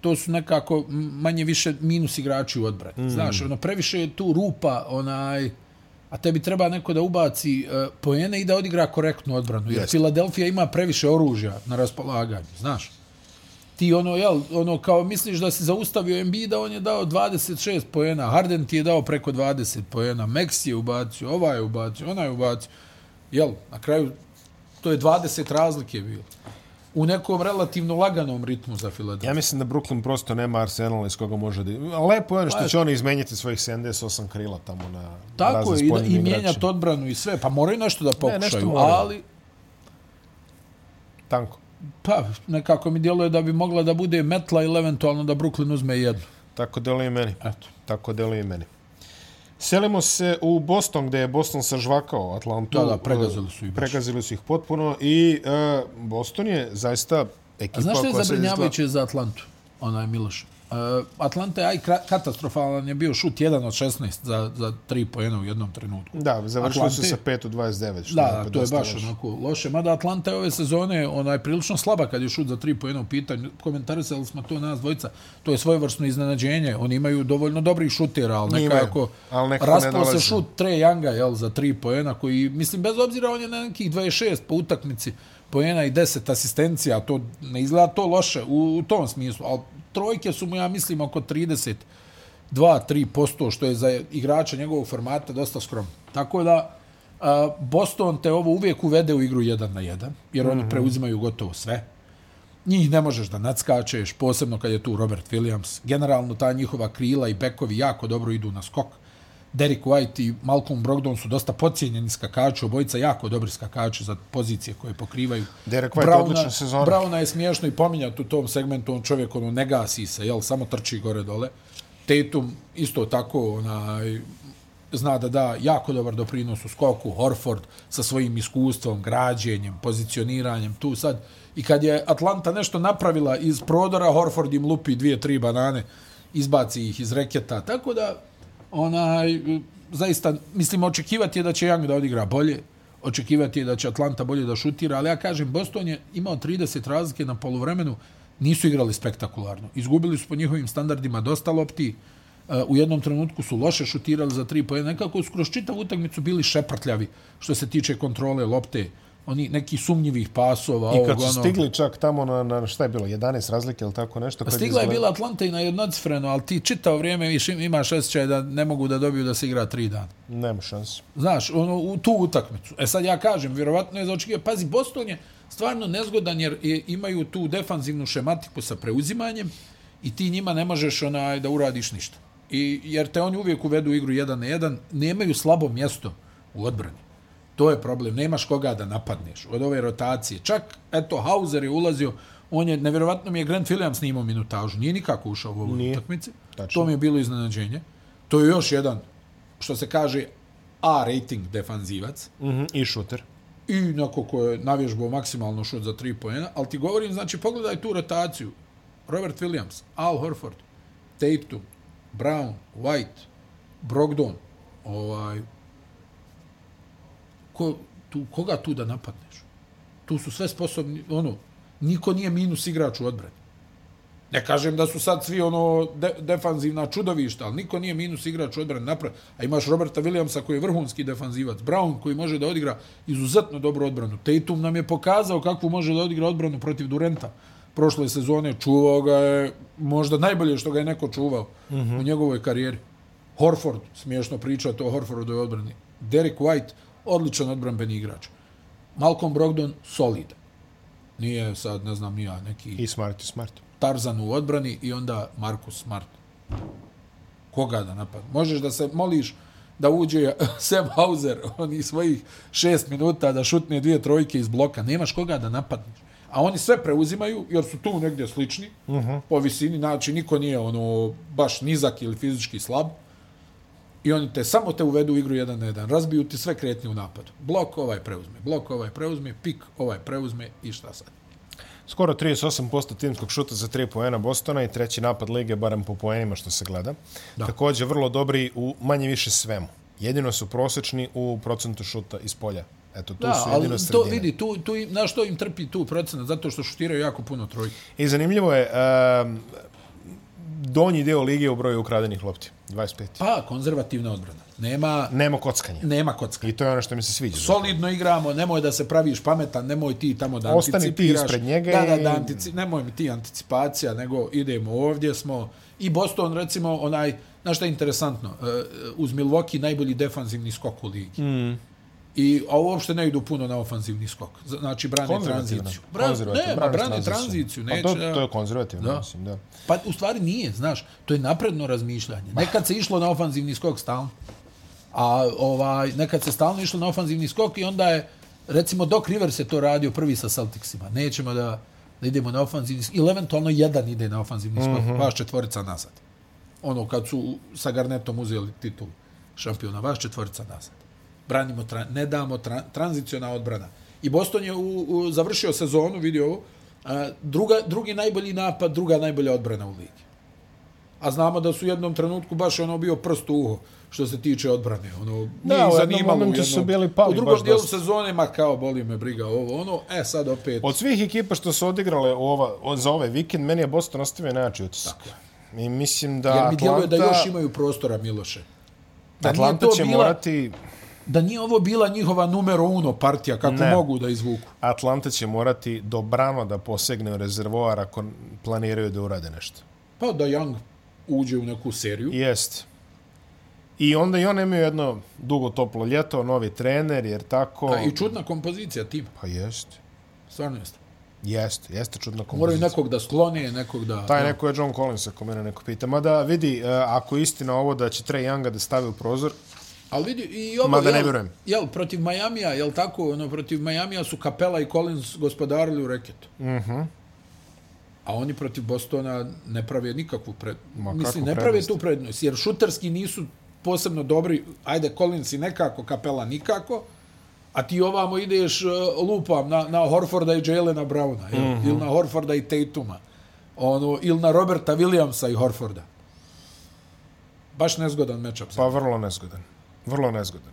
to su nekako m, manje više minus igrači u odbrani. Mm. Znaš, ono, previše je tu rupa, onaj, a tebi treba neko da ubaci uh, poene i da odigra korektnu odbranu. Jer
Jeste.
Filadelfija ima previše oružja na raspolaganju, znaš. ti ono, jel, ono kao misliš da si zaustavio Embiida, on je dao 26 poena, Harden ti je dao preko 20 poena, Maxi je ubacio, ova je ubacio, ona je ubacio. Jel, na kraju to je 20 razlike bilo. U nekom relativno laganom ritmu za Filadelfiju.
Ja mislim da Brooklyn prosto nema arsenala iz koga može da... A Lepo je ono što
Pa,
će oni izmenjati svojih 78 krila tamo na
Tako
razne
je, i, da,
spoljnim
i
igračima.
mijenjati odbranu i sve, pa moraju nešto da
nešto
pokušaju, ne,
moraju.
ali
Tanko.
pa nekako mi djeluje da bi mogla da bude metla ili eventualno da Brooklyn uzme jednu.
Tako deluje i meni.
Eto.
Tako deluje i meni. Selimo se u Boston, gde je Boston sažvakao Atlantu.
Da, da, pregazili su ih baš.
Pregazili su ih potpuno i e, Boston je zaista ekipa
A znaš što je
koja se
zabrinjavajuće za Atlantu? Onaj Miloš. Uh, Atlanta je aj kra- katastrofalan je bio šut 1 od 16 za, za 3 poena u jednom trenutku.
izgleda- Da, završili su
Atlante.
sa 5 u 29. Što
Da, da,
opet
to je
dosta
baš ono-
loše.
onako loše. Mada Atlanta je ove sezone onaj prilično slaba kad je šut za 3 poena u pitanju. Komentarisali smo to nas dvojica. To je svojevrsno iznenađenje. Oni imaju dovoljno dobrih šutera, ali
Imaju,
nekako,
ali nekako ne
raspao
dolaze.
se šut Trae Younga jel, za 3 poena koji, mislim, bez obzira on je na nekih 26 po utakmici poena i 10 asistencija. To ne izgleda to loše u, u tom smislu, ali trojke su mu, ja mislim, oko 30 2-3%, što je za igrača njegovog formata dosta skromno. Tako da, a, Boston te ovo uvijek uvede u igru 1 na 1, jer
Mhm.
oni preuzimaju gotovo sve. Njih ne možeš da nadskačeš, posebno kad je tu Robert Williams. Generalno, ta njihova krila i bekovi jako dobro idu na skok. Derek White i Malcolm Brogdon su dosta pocijenjeni skakači, obojica jako dobri skakači za pozicije koje pokrivaju.
Derek White, odlična sezona.
Brauna je smiješno i pominjat u tom segmentu, on čovjek ono, ne gasi se, jel, samo trči gore-dole. Tatum isto tako onaj, zna da da jako dobar doprinos u skoku, Horford sa svojim iskustvom, građenjem, pozicioniranjem, tu sad. I kad je Atlanta nešto napravila iz prodora, Horford im lupi dvije, tri banane, izbaci ih iz reketa, tako da onaj, zaista, mislim, očekivati je da će Young da odigra bolje, očekivati je da će Atlanta bolje da šutira, ali ja kažem, Boston je imao 30 razlike na polovremenu, nisu igrali spektakularno. Izgubili su po njihovim standardima dosta lopti, e, u jednom trenutku su loše šutirali za tri pojene, nekako su kroz čitavu utakmicu bili šeprtljavi što se tiče kontrole lopte, oni neki sumnjivih pasova.
I
ovog,
kad su
onog.
stigli čak tamo na, na šta je bilo, 11 razlike ili tako nešto. Kad je
Pa Stigla je
izgled-
bila Atlanta i na jednocifreno, ali ti čitao vrijeme viš, imaš osjećaj da ne mogu da dobiju da se igra tri dana.
Nema šanse.
Znaš, ono, u tu utakmicu. E sad ja kažem, vjerovatno je za očekivanje. Pazi, Boston je stvarno nezgodan jer je, imaju tu defanzivnu šematiku sa preuzimanjem i ti njima ne možeš onaj, da uradiš ništa. I, jer te oni uvijek uvedu u igru 1 na 1, nemaju slabo mjesto u odbrani. To je problem, nemaš koga da napadneš od ove rotacije. Čak, eto, Hauser je ulazio, on je, nevjerovatno mi je Grant Williams snimao minutažu, nije nikako ušao u ovoj utakmici.
Tačno.
To mi je bilo iznenađenje. To je još jedan, što se kaže, A rating defanzivac
Mm -hmm. I šuter.
i neko ko je navježbao maksimalno šut za 3 poena, ali ti govorim, znači pogledaj tu rotaciju. Robert Williams, Al Horford, Tatum, Brown, White, Brogdon, ovaj, ko, tu, koga tu da napadneš? Tu su sve sposobni, ono, niko nije minus igrač u odbrani. Ne kažem da su sad svi ono de, defanzivna čudovišta, ali niko nije minus igrač u odbrani napred. A imaš Roberta Williamsa koji je vrhunski defanzivac, Brown koji može da odigra izuzetno dobru odbranu. Tatum nam je pokazao kakvu može da odigra odbranu protiv Durenta. Prošle sezone čuvao ga je možda najbolje što ga je neko čuvao mm -hmm. u njegovoj karijeri. Horford, smiješno pričati o Horfordovoj odbrani. Derek White, odličan odbranbeni igrač. Malcolm Brogdon, solidan. Nije sad, ne znam, nija neki...
I smart i smart.
Tarzan u odbrani i onda Markus Smart. Koga da napad? Možeš da se moliš da uđe Sam Hauser oni svojih šest minuta da šutne dvije trojke iz bloka. Nemaš koga da napadneš. A oni sve preuzimaju jer su tu negdje slični uh -huh. po visini. Znači niko nije ono baš nizak ili fizički slab. I oni te samo te uvedu u igru jedan na jedan. Razbiju ti sve kretnje u napadu. Blok ovaj preuzme, blok ovaj preuzme, pik ovaj preuzme i šta sad?
Skoro 38% timskog šuta za 3 poena Bostona i treći napad lige, barem po poenima što se gleda. Da. Također vrlo dobri u manje više svemu. Jedino su prosečni u procentu šuta iz polja. Eto, tu
Da,
su
ali
jedino
to
sredine.
vidi, tu, tu, im- znaš što im trpi tu procenat, zato što šutiraju jako puno trojke.
I zanimljivo je, um, donji deo lige u broju ukradenih lopti. 25.
Pa, konzervativna odbrana. Nema,
Nema kockanja.
nema kocka.
I to je ono što mi se sviđa.
Solidno igramo, nemoj da se praviš pametan, nemoj ti tamo da
Ostani ti
anticipiraš.
ispred njega
Da, da,
i-
da, antici, nemoj mi ti anticipacija, nego idemo ovdje smo. I Boston, recimo, onaj, znaš šta je interesantno, e, e, uz Milwaukee najbolji defanzivni skok u ligi. Mm. I, a uopšte ne idu puno na ofanzivni skok. Znači, brane
Konzervativno.
tranziciju. Bra,
Konzervativno,
ne, ma
brane
brane
tranziciju.
tranziciju.
Pa
Neće,
to,
da-
to je konzervativno, da.
Da.
mislim, da.
Pa u stvari nije, znaš, to je napredno razmišljanje. Nekad se išlo na ofanzivni skok stalno. A ovaj nekad se stalno išlo na ofanzivni skok i onda je recimo Doc Rivers je to radio prvi sa Celticsima. Nećemo da da idemo na ofanzivni skok. Ili eventualno jedan ide na ofanzivni skok, mm -hmm. vaš četvorica nazad. Ono kad su sa Garnetom uzeli titul šampiona, vaš četvorica nazad. Branimo, tra, ne damo tra, tranziciona odbrana. I Boston je u, u, završio sezonu, vidi ovo, a, druga, drugi najbolji napad, druga najbolja odbrana u ligi. A znamo da su u jednom trenutku baš ono bio prst u uho što se tiče odbrane. Ono,
Da,
nije ih
u jednom
zanimalo
momentu
jednom-
su bili pali
U drugom
baš
dijelu
dosta.
sezone, ma kao, boli me briga ovo, ono, e sad opet.
Od svih ekipa što su odigrale ova, od, za ovaj vikend, meni je Boston ostavio najjači utisak. I mislim da
jer mi djeluje
Atlanta,
da još imaju prostora, Miloše. Da nije
Atlanta
to
će
bila-
morati
Da nije ovo bila njihova numero uno partija, kako
Ne.
mogu da izvuku.
Atlanta će morati dobrano da posegne u rezervoar ako planiraju da urade nešto.
Pa da Young uđe u neku seriju.
Jest. I onda i one imaju jedno dugo toplo ljeto, novi trener, jer tako...
A, I čudna kompozicija tima,
Pa jest.
stvarno jeste.
Jest, jeste čudna
Moraju
kompozicija. Pa
nekog da sklone, nekog da...
Taj neko je John Collins, ako mene neko pita. Mada vidi, e, ako je istina ovo da će Trae Younga da stavi u prozor,
Ali vidi, i ovo,
Mada ne
jel,
vjerujem.
Jel, protiv Majamija, jel tako, ono, protiv Majamija su Kapela i Collins gospodarili u reketu. Mhm. A oni protiv Bostona ne prave nikakvu pred...
Ma, kakvu
Mislim, ne prave
prednost?
tu prednost, jer šuterski nisu posebno dobri. Ajde, Collins i nekako, Kapela nikako. A ti ovamo ideš e, lupam na, na Horforda i Jelena Browna, jel?
Mhm.
Mm -hmm. ili na Horforda i Tatuma, ono, ili na Roberta Williamsa i Horforda. Baš nezgodan matchup. za
pa vrlo nezgodan. Vrlo nezgodan.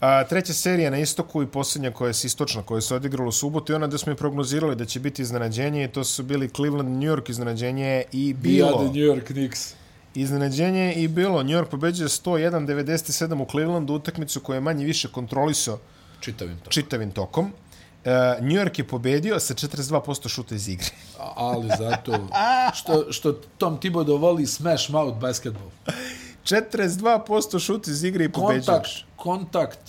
A, treća serija na istoku i posljednja koja se istočna, koja se odigrala u subotu i ona da smo i prognozirali da će biti iznenađenje i to su bili Cleveland, New York iznenađenje je i
Bijade
bilo.
New York Knicks.
Iznenađenje je i bilo. New York pobeđuje 101-97 u Clevelandu utakmicu koja je manje više kontrolisao
Čitavim to.
čitavim tokom. Uh, New York je pobedio sa 42% šuta iz igre.
A- ali zato što, što Tom Thibodeau voli smash mouth basketball.
42% šut iz igre i
Kontakt,
pobeđuješ.
kontakt,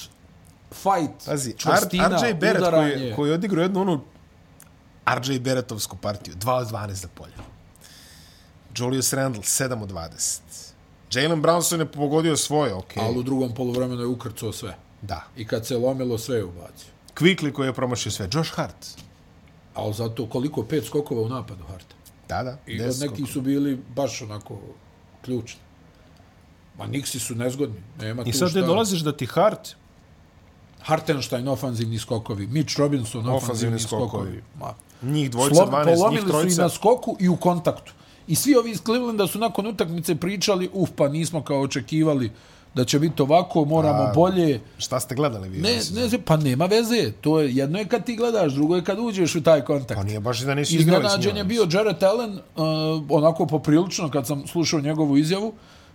fight,
Pazi,
čvrstina,
R- RJ Barrett
udaranje.
koji, koji je odigrao jednu onu RJ Barrettovsku partiju, 2 od 12 za polje. Julius Randle, 7 od 20. Jalen Brownson je pogodio svoje, ok.
Ali u drugom polovremenu je ukrcao sve.
Da.
I kad se lomilo, sve je ubacio.
Quickly koji je promašio sve. Josh Hart.
Ali zato koliko pet skokova u napadu Harta.
Da, da.
I
deset
od nekih
skokova.
su bili baš onako ključni. Ma Nixi su nezgodni. Nema
I
tu
sad
šta.
ti dolaziš da ti Hart
Hartenstein ofanzivni skokovi, Mitch Robinson ofanzivni,
Ofanzivni
skokovi.
skokovi.
Ma.
njih dvojica,
Slom,
12, njih
polomili su i
trojica.
na skoku i u kontaktu. I svi ovi iz Clevelanda su nakon utakmice pričali, uf, pa nismo kao očekivali da će biti ovako, moramo A, bolje.
Šta ste gledali vi?
Ne,
mislim?
ne, znam, pa nema veze. To je, jedno je kad ti gledaš, drugo je kad uđeš u taj kontakt.
Pa nije baš da nisu igrali s
Iznenađen je
njima.
bio Jared Allen, uh, onako poprilično kad sam slušao njegovu izjavu.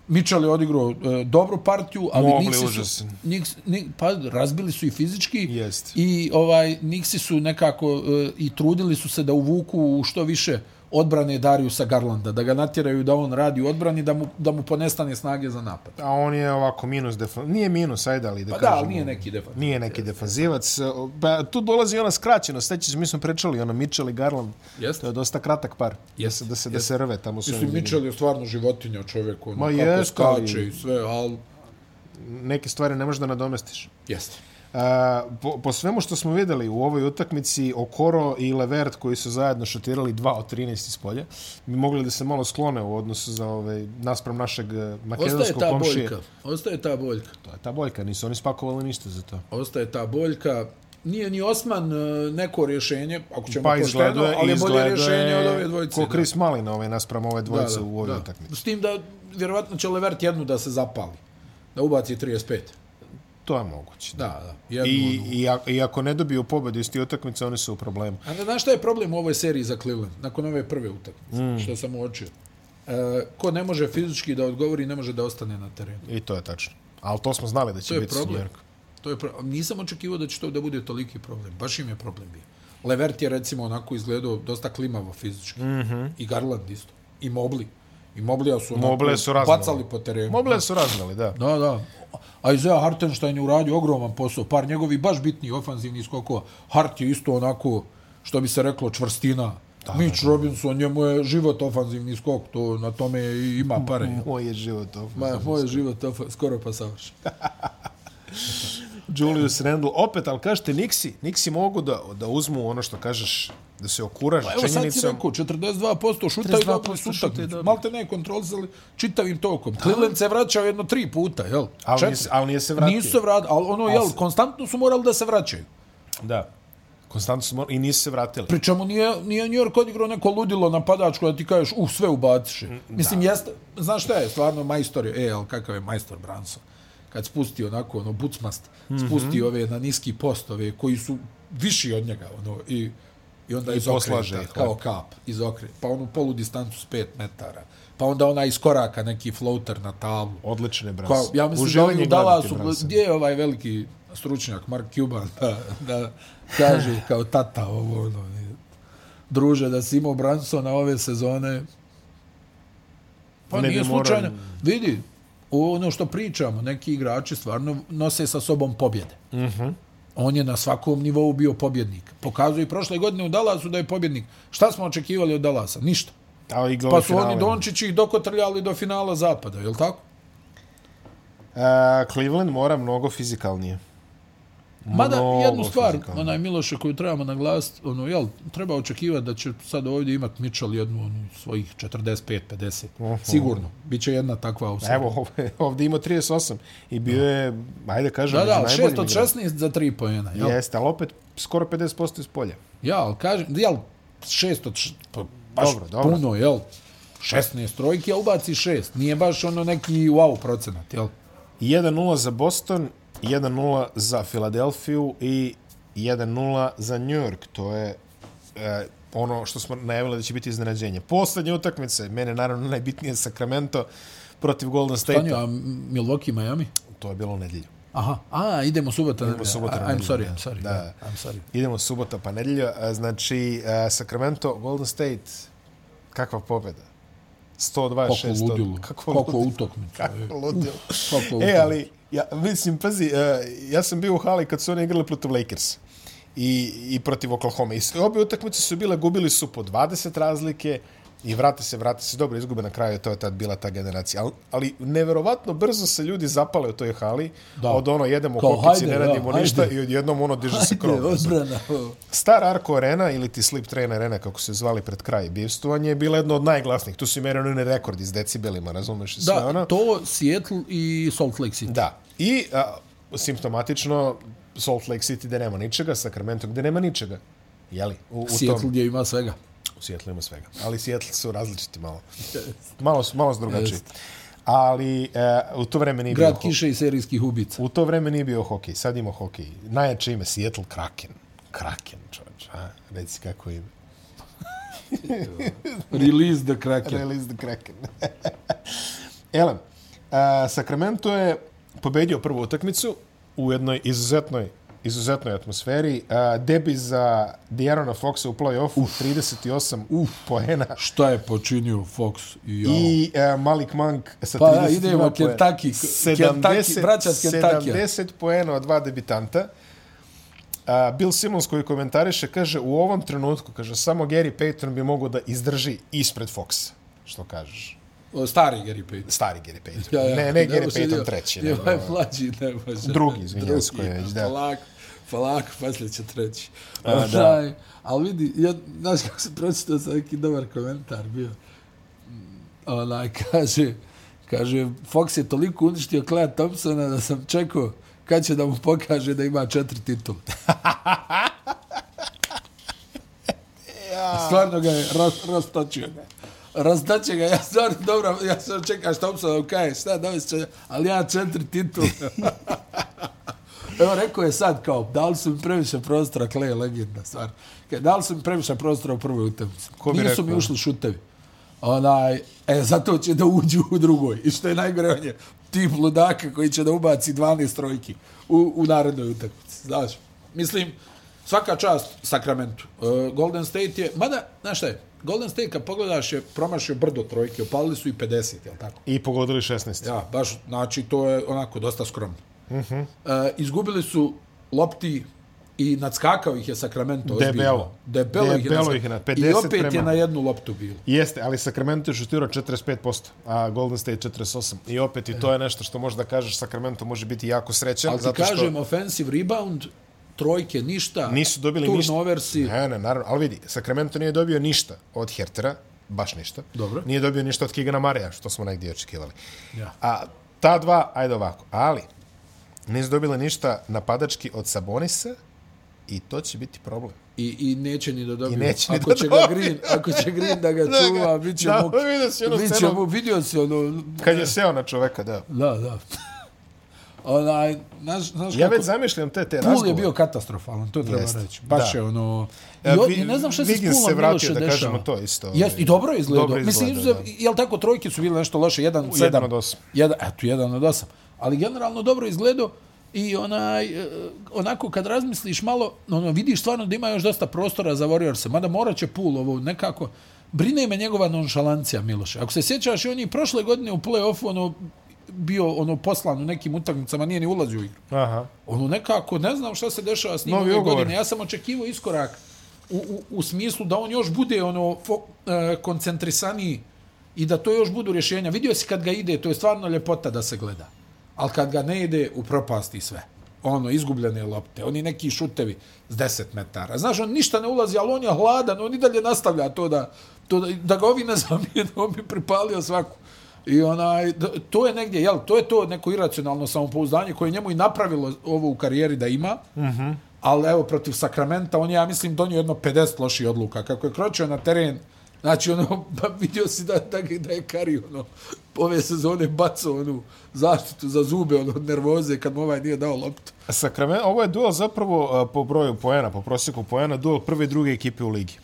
Mitchell je odigrao uh, dobru partiju, ali
Mobley
Nixi su,
užasan.
Nix, Nix, pa razbili su i fizički
Jest.
i ovaj Nixi su nekako uh, i trudili su se da uvuku u što više odbrane Dariusa Garlanda, da ga natjeraju da on radi u odbrani, da mu, da mu ponestane snage za napad.
A on je ovako minus defanzivac. Nije minus, ajde, ali da
Pa da,
kažemo.
ali nije neki defat.
Nije neki defanzivac. Pa, tu dolazi ona skraćenost. Sećaš, se, mi smo pričali, ono Mitchell i Garland.
Jeste.
To je dosta kratak par. Jeste. Da se, da se rve tamo su.
Mislim, Mitchell je stvarno životinja čovjek, ono,
Ma
kako
jest,
skače
ali-
i sve, ali...
Neke stvari ne možeš da nadomestiš.
Jeste.
Uh, po, po svemu što smo videli u ovoj utakmici, Okoro i Levert koji su zajedno šutirali 2 od 13 iz polja, bi mogli da se malo sklone u odnosu za ovaj, naspram našeg eh,
Ostaje
makedonskog
ta
komšije.
boljka. Ostaje ta boljka.
To je ta boljka, nisu oni spakovali ništa za to.
Ostaje ta boljka. Nije ni Osman e, neko rješenje, ako ćemo
Pa
pošteno,
izgleda,
ali je bolje
izgleda
rješenje od ove dvojice.
Ko
da.
Chris Malin ove naspram ove
Da,
dvojice
da,
u ovoj
da.
utakmici.
S tim da vjerovatno će Levert jednu da se zapali. Da ubaci 35.
To je moguće.
Da, da. Jednu,
I,
I...
i, ako, I ako ne dobiju pobedu iz tih utakmica, oni su u problemu.
A ne znaš šta je problem u ovoj seriji za Cleveland, nakon ove prve utakmice, mm. što sam uočio? E, ko ne može fizički da odgovori, ne može da ostane na terenu.
I to je tačno. Ali to smo znali da
To
će
je
biti s New
problem.
York.
To je pro... Nisam očekivao da će to da bude toliki problem. Baš im je problem bio. Levert je recimo onako izgledao dosta klimavo fizički. Mm -hmm. I Garland isto. I Mobli. I Moblija su onako
Mobley su razmali.
bacali po terenu.
Moble su raznali, da.
Da, da. A Isaiah Hartenstein je uradio ogroman posao. Par njegovi baš bitni ofanzivni skokova. Hart je isto onako, što bi se reklo, čvrstina. Da, Mitch da, da. Robinson, njemu je život ofanzivni skok. To, na tome i ima pare.
Moj je život to.
Ma, moj je život ofa- skoro pa savršen.
Julius Randle, opet, ali kažete, Nixi, Nixi mogu da, da uzmu ono što kažeš, da se okuraže
Pa Evo sad si
činjenicom.
rekao, 42% šuta i
42%
dobili su
šuta i
utakmicu.
dobili.
Malte ne kontrolisali čitavim tokom. Cleveland se vraćao jedno tri puta, jel?
Ali
Četiri.
nije se- ali nije se vratio.
Nisu se vratili, ali ono, jel,
se-
konstantno su morali da se vraćaju.
Da. Konstantno su mor- i nisu se vratili.
Pri čemu nije, nije New York odigrao neko ludilo napadačko da ti kažeš, uh, sve ubaciše. Mislim, jeste, znaš šta je, stvarno majstor je, e, ali kakav je majstor Branson? Kad spusti onako, ono, bucmast,
Mhm.
spusti ove na niski post, ove koji su viši od njega, ono, i, i onda iz
poslaže ih,
kao kap, iz okre, pa onu polu distancu s 5 metara, pa onda ona iz koraka, neki floater na tablu.
Odlične brase.
Kao, Pa, ja mislim
Uživanje
da oni udala
gledati
su,
brase.
gdje je ovaj veliki stručnjak, Mark Cuban, da, da kaže kao tata ovo, ono, i, druže, da si imao Bransona ove sezone, pa
Ne bi
nije
morao-
slučajno. Vidi, ono što pričamo, neki igrači stvarno nose sa sobom pobjede. Mm -hmm.
Mhm.
On je na svakom nivou bio pobjednik. Pokazuje i prošle godine u Dallasu da je pobjednik. Šta smo očekivali od Dallasa? Ništa.
A, i
Pa su oni Dončići ih dokotrljali do finala zapada, je li tako?
Uh, Cleveland mora mnogo fizikalnije.
Mada
Mnogo
jednu stvar,
fizikalno.
onaj Miloše koju trebamo naglasiti, ono, jel, treba očekivati da će sad ovdje imati Mitchell jednu onu, svojih 45-50. Sigurno. Biće jedna takva u
Evo, ovdje, ovdje ima 38 i bio je, ajde kažem,
Da, da, ali
među
6
najboljim
od
igračima.
16 za 3 pojena. Jel?
Jeste, ali opet skoro 50% iz polja.
Ja, ali kažem, jel, 6 od... š- Pa, baš
Dobro, dobro.
puno, jel? 16 trojki, a ubaci 6. Nije baš ono neki wow procenat, jel?
1-0 za Boston, 1-0 za Filadelfiju i 1-0 za New York. To je e, ono što smo najavili da će biti iznenađenje. Poslednje utakmice, mene naravno najbitnije Sacramento protiv Golden
Tanju,
State-a.
a M- Milwaukee, Miami?
To je bilo u nedelju.
Aha, a, idemo subota.
Idemo subota na
I'm
nedelju, da.
sorry, I'm sorry.
Da.
Da. I'm sorry.
Idemo subota pa nedelja, a, znači a, Sacramento, Golden State, kakva pobjeda? 126.
Koliko ludilo.
Kako
Koliko
ludilo.
utakmica.
Kako ludilo.
Koliko
E,
utakmica.
ali, ja, mislim, pazi, e, ja sam bio u hali kad su oni igrali protiv Lakers i, i protiv Oklahoma. I s- obje utakmice su bile, gubili su po 20 razlike i vrate se, vrate se. Dobro, izgube na kraju, to je tad bila ta generacija. Ali, ali neverovatno brzo se ljudi zapale u toj hali. Da.
Da.
Od ono, jedemo
Kao,
kokici, ne
hajde, da,
radimo ništa
hajde.
i odjednom ono diže se krov.
Ajde, odbrana.
Star Arco Arena ili ti Sleep Train Arena, kako se zvali pred kraj bivstvovanje, je bila jedna od najglasnijih. Tu su imeli onaj rekord iz decibelima, razumeš i sve ono.
Da, to Seattle i Salt Lake City.
Da. I a, simptomatično Salt Lake City gde nema ničega, Sacramento gde nema ničega. Jeli? U, u
Seattle
tom,
gdje ima svega.
u Seattle ima svega. Ali Seattle su različiti malo. Malo, su- malo su drugačiji. Ali e, u to vreme nije bio
Grad
hokej.
kiše i serijskih ubica.
U to vreme nije bio hokej. Sad ima hokej. Najjače ime Seattle Kraken. Kraken, čovječ. A, reci kako ime.
Release the Kraken.
Release the Kraken. Elem, a, Sacramento je pobedio prvu utakmicu u jednoj izuzetnoj izuzetnoj atmosferi. A, debi za De'Arona Foxa u play-offu 38 Uf. poena
Šta je počinio Fox i ovo?
i e, Malik Monk sa
Pa,
32
idemo,
poena.
Kentucky, Kentucky, braća s Kentuckyja.
70 poena od dva debitanta. A, Bill Simmons koji komentariše kaže u ovom trenutku kaže samo Gary Payton bi mogao da izdrži ispred Foxa. Što kažeš?
O, Stari Gary Payton.
stari Gary Payton. Ja, ja, ne, ne Gary Payton treći.
Ne,
Ne,
ovaj mlađi, ne može.
Drugi, izvinjavam se, koji je već, da.
Polak, polak, poslije će treći.
A, da.
A, da. Ali vidi, ja, znaš kako sam pročitao sam neki dobar komentar bio. Mm, Onaj, kaže, kaže, Fox je toliko uništio Clay Thompsona da sam čekao kad će da mu pokaže da ima četiri titule. Stvarno ga je raz, rastočio. Razdaće ga, ja stvarno, dobro, ja sam čekao što opsa da kaje, šta da će, ali ja četiri titule. Evo, rekao je sad kao, dali su mi previše prostora, Clay je legenda, stvar. Dali su mi previše prostora u prvoj utakmici.
Ko bi
Nisu
rekao?
mi ušli šutevi. Onaj, e, zato će da uđu u drugoj. I što je najgore, on je tip ludaka koji će da ubaci 12 trojki u, u narednoj utakmici. Znaš, mislim, svaka čast Sakramentu. E, Golden State je, mada, znaš šta je, Golden State kad pogledaš je promašio brdo trojke, opalili su i 50, jel tako?
I pogodili 16.
Ja, baš, znači, to je onako dosta skromno. Uh
Mhm.
-huh. e, izgubili su lopti i nadskakao ih je Sakramento ozbiljno.
Debelo.
Debelo,
Debelo
ih
ih je na-
je nadskakao. I
50
opet je
prema-
na jednu loptu bilo.
Jeste, ali Sacramento je šutirao 45%, a Golden State 48. I opet i to je nešto što možda kažeš, Sacramento može biti jako srećan.
Ali ti
zato što
kažem, offensive rebound, trojke, ništa.
Nisu dobili ništa.
Turnoversi.
Ne, ne, naravno. Ali vidi, Sacramento nije dobio ništa od Hertera, baš ništa.
Dobro.
Nije dobio ništa od Kigana Marija, što smo negdje očekivali.
Ja.
A ta dva, ajde ovako. Ali, nisu dobile ništa napadački od Sabonisa i to će biti problem.
I, I neće ni da dobije.
I neće ni
ako
da
će
dobije.
ga Green, ako će Green da ga
Da ga-
čuva, bit će
da,
mu...
vidio si onu
bit će
scenu.
mu- vidio si ono...
Kad je seo na čoveka, da.
Da, da. Onaj, znaš, znaš
Ja
kako...
već zamišljam te, te
Pool
razgovore.
je bio katastrofalan, to treba
Jeste,
reći. Baš
da.
je ono... I,
E,
o-
Vi-
I ne znam šta se s
Wiggins se
Poolom
vratio,
Miloše
da
dešava.
kažemo to isto,
Jes,
ovaj,
I dobro je izgledao.
dobro
Mislim,
izgledao,
izuzeo, jel tako, trojke su bile nešto loše, 1 od 7.
Jedan od osam.
Jedan, eto, jedan od osam. Ali generalno dobro izgledao i onaj, e, onako kad razmisliš malo, ono, vidiš stvarno da ima još dosta prostora za Warriorsa, mada morat će pul ovo nekako. Brine me njegova nonšalancija, Miloše. Ako se sjećaš, on je i prošle godine u play-offu ono, bio ono poslan u nekim utakmicama, nije ni ulazio u igru.
Aha.
Ono nekako, ne znam šta se dešava s njim
Novi
ove
ugovor.
godine. Ja sam očekivao iskorak u, u, u smislu da on još bude ono fo, e, koncentrisaniji i da to još budu rješenja. Vidio si kad ga ide, to je stvarno ljepota da se gleda. Ali kad ga ne ide, u propasti sve. Ono, izgubljene lopte, oni neki šutevi s 10 metara. Znaš, on ništa ne ulazi, ali on je hladan, on i dalje nastavlja to da, to da, da ga ovi ne zamijenu, on bi pripalio svaku. I onaj, d- to je negdje, jel, to je to neko iracionalno samopouzdanje koje je njemu i napravilo ovo u karijeri da ima, mm
Mhm.
-hmm. ali evo, protiv Sakramenta, on je, ja mislim, donio jedno 50 loših odluka. Kako je kročio na teren, znači, ono, pa vidio si da, da, ga- da je Kari, ono, ove sezone bacao onu zaštitu za zube, ono, od nervoze kad mu ovaj nije dao loptu.
Sakramen, E, ovo je duel zapravo a, po broju poena, po prosjeku poena, duel prve i druge ekipe u ligi.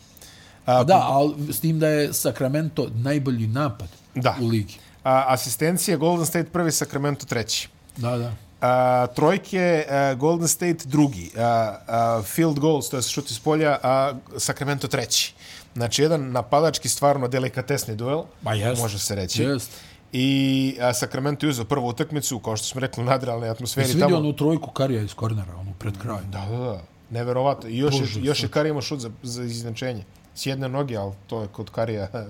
A, da,
pa-
ali s tim da je Sakramento najbolji napad
Da.
u ligi.
A, asistencije Golden State prvi, Sacramento treći.
Da, da.
A, trojke, a, Golden State drugi, a, a, field goals, to je šut iz polja, a Sacramento treći. Znači, jedan napadački, stvarno delikatesni duel,
Ma jest.
može se reći.
Jest.
I a, Sacramento je uzeo prvu utakmicu, kao što smo rekli, u nadrealnoj atmosferi
Jesi
tamo.
vidio onu trojku Karija iz kornera, onu pred kraj?
Da, da, da. Neverovatno. I još,
Bože,
je, još je Kari imao šut za, za iznenačenje. S jedne noge, ali to je kod Karija.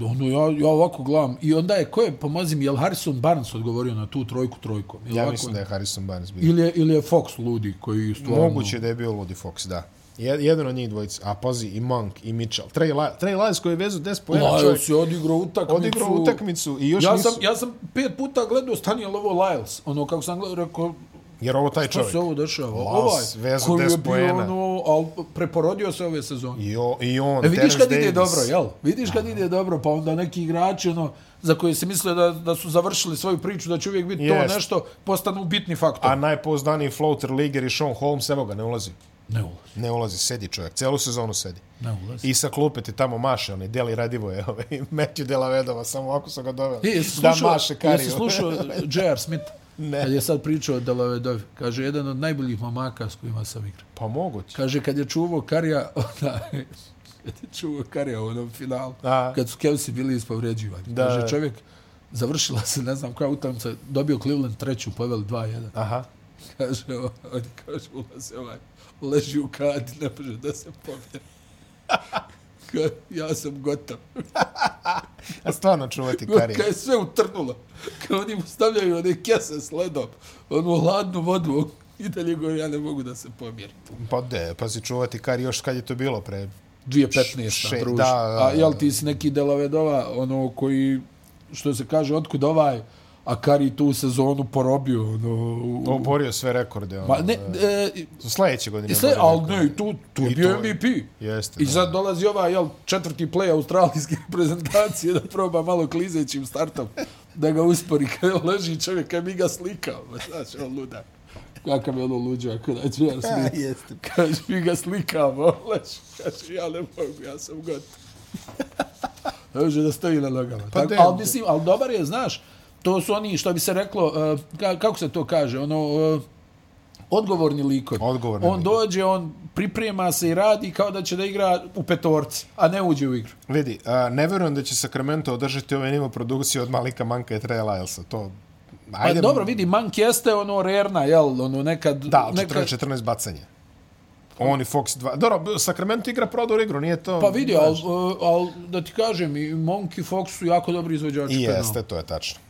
Ono, ja, ja ovako gledam. I onda je, ko je, pomozim, je li Harrison Barnes odgovorio na tu trojku trojkom? Je li
ja
ovako-
mislim da je Harrison Barnes bio.
Ili je, ili je Fox ludi koji stvarno...
Moguće da je bio Ludi Fox, da. Jed- Jedan od njih dvojica. A pazi, i Monk, i Mitchell. Trey, La Trey Lyles koji je vezu 10 po 1
Lajos
čovjek.
je odigrao utakmicu.
Odigrao utakmicu i još
Ja
nisu...
sam, ja sam pet puta gledao stani je li ovo Lyles. Ono, kako sam gledao, rekao,
Jer ovo taj
što
čovjek.
se ovo dešava? Ovaj,
Lyles, vezu
koji je
10
bio,
poena.
ono, al, preporodio se ove sezone.
I, o, I on,
E, vidiš
Terence
kad ide
Davis.
dobro, jel? Vidiš kad ide dobro, pa onda neki igrači, ono, za koje se misle da, da su završili svoju priču, da će uvijek biti
Jest.
to nešto, postanu bitni faktor.
A najpouzdaniji floater liger i Sean Holmes, evo ga, ne ulazi.
Ne ulazi,
Ne ulazi, sedi čovjek. Celu sezonu sedi.
ne ulazi.
I sa klupe ti tamo maše, onaj Deli Radivo je, ovaj, Matthew Delavedova, samo ovako su ga doveli.
E, jesi
da
slušao,
maše kariju.
jesi slušao J.R. Smith?
Ne.
Kad je sad pričao o Delavedovi, kaže, jedan od najboljih momaka s kojima sam igrao.
Pa moguće.
Kaže, kad je čuvao Karija, onda, kad je čuvao Karija u onom finalu,
A.
kad su Kevsi bili ispovređivani.
Da.
Kaže, čovjek, završila se, ne znam koja utakmica, dobio Cleveland treću, poveli 2-1.
Aha.
Kaže, on kaže, ulaze ovaj, leži u kadi, ne može da se pobjeri. Kaže, ja sam gotov.
A stvarno čuvati kariju.
Kad je sve utrnulo, kad oni mu stavljaju one kese s ledom, onu hladnu vodu, i dalje govori, ja ne mogu da se pomjerim.
Pa de, pazi, čuvati kariju još kad je to bilo pre
2015.
Še-
druže.
da, da, da.
A jel ti si neki Delavedova, ono koji, što se kaže, otkud ovaj, a Kari tu sezonu porobio, ono, u, u,
oborio sve rekorde. Ono,
pa ne, e,
Sljedeće godine.
i sve,
oborio
ali
rekorde.
ne, i tu, tu je
I
bio
to je.
MVP.
Jeste.
I
da.
sad dolazi ovaj, jel, četvrti play australijske reprezentacije da proba malo klizećim startom da ga uspori kad leži čovjek, kad mi ga slikao, ma znaš, on luda. Kakav je ono luđo, ako da ću ja smijeti.
jeste.
Kaže, mi ga slikamo, on leži, kaže, ja ne mogu, ja sam gotov. Ne može da stoji na nogama.
Pa
Pa
de-
Tako, ali, mislim, ali dobar je, znaš, to su oni, što bi se reklo, uh, ka, kako se to kaže, ono, uh, odgovorni likovi.
Odgovorni
on
likovi.
dođe, on priprema se i radi kao da će da igra u petorci, a ne uđe u igru.
Vidi, a, ne verujem da će Sacramento održati ovaj nivo produkcije od Malika Manka i Treja Lylesa. To,
Pa Ajde, dobro, vidi, Mank jeste ono rerna, jel, ono nekad...
Da, ali
nekad
14, 14 bacanja. Oni Fox 2. Dobro, Sacramento igra prodor igru, nije to...
Pa vidi,
znaš.
ali al, da ti kažem, i Monk i Fox su jako dobri izvođači.
I
penala.
jeste, Znači, to je tačno.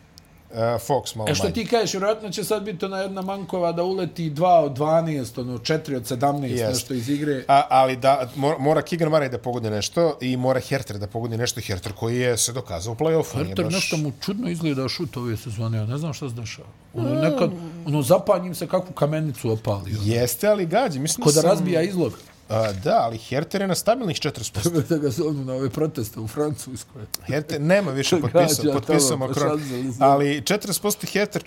E, Fox malo
E što
manje.
ti kažeš, vjerojatno će sad biti ona jedna Mankova da uleti 2 od 12, ono 4 od 17,
Jest.
nešto iz igre.
A, ali da, mora, mora Keegan Murray da pogodne nešto i mora Herter da pogodne nešto. Herter koji je se dokazao u play-offu. nije
Herter
baš-
nešto mu čudno izgleda šut ove sezone, ja ne znam šta se dešava. Ono nekad, ono zapanjim se kakvu kamenicu opali. ono.
Jeste, ali gađi. Mislim
Ko da
sam-
razbija izlog.
A, da, ali Herter je na stabilnih 40%.
da ga zovnu na ove proteste u Francuskoj.
Herter nema više potpisao,
Gađa
potpisao
tamo, pa
Macron.
šanse za-
Ali 40% Herter,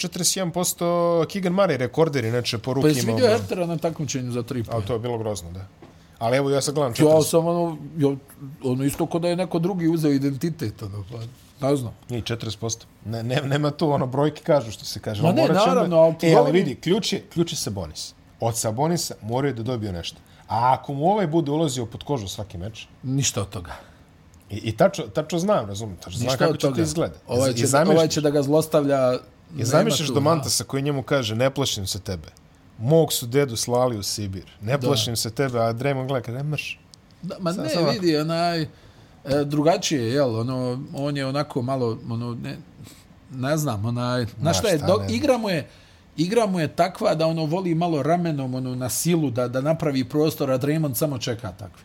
41% Keegan Murray, rekorder inače po
Pa
ruki
jesi
imao.
vidio Hertera na takmičenju za tri
A
pojena?
to je bilo grozno, da. Ali evo ja sad gledam
Ja
40,
sam ono, ja, ono isto ko da je neko drugi uzeo identitet, ono, pa ne znam.
i 40%. Ne, ne, nema tu ono brojke kažu što se kaže.
Ma
Ali
ne,
morat ćemo-
naravno, ali ti
e, ali
govorim-
vidi, ključ je, ključ je Sabonis. Od Sabonisa moraju da dobiju nešto. A ako mu ovaj bude ulazio pod kožu svaki meč,
Ništa od toga.
i, i tačno, tačno znam, razumim, tačno znam
Ništa
kako
od
će to
toga.
izgleda.
Ovaj
I
će, da,
zamišljaš,
ovaj će da ga zlostavlja...
i
Nema
zamišljaš
tu, da.
Domantasa koji njemu kaže, ne plašim se tebe. Mog su dedu slali u Sibir. Ne plašim se tebe, a Draymond gleda, ne mrš.
Da, ma ne,
sam ovako.
vidi, onaj, e, drugačije, jel, ono, on je onako malo, ono, ne, ne znam, onaj, na šta je,
šta, ne
do,
znam.
igra mu je, igra mu je takva da ono voli malo ramenom, ono, na silu, da, da napravi prostor, a Draymond samo čeka takve.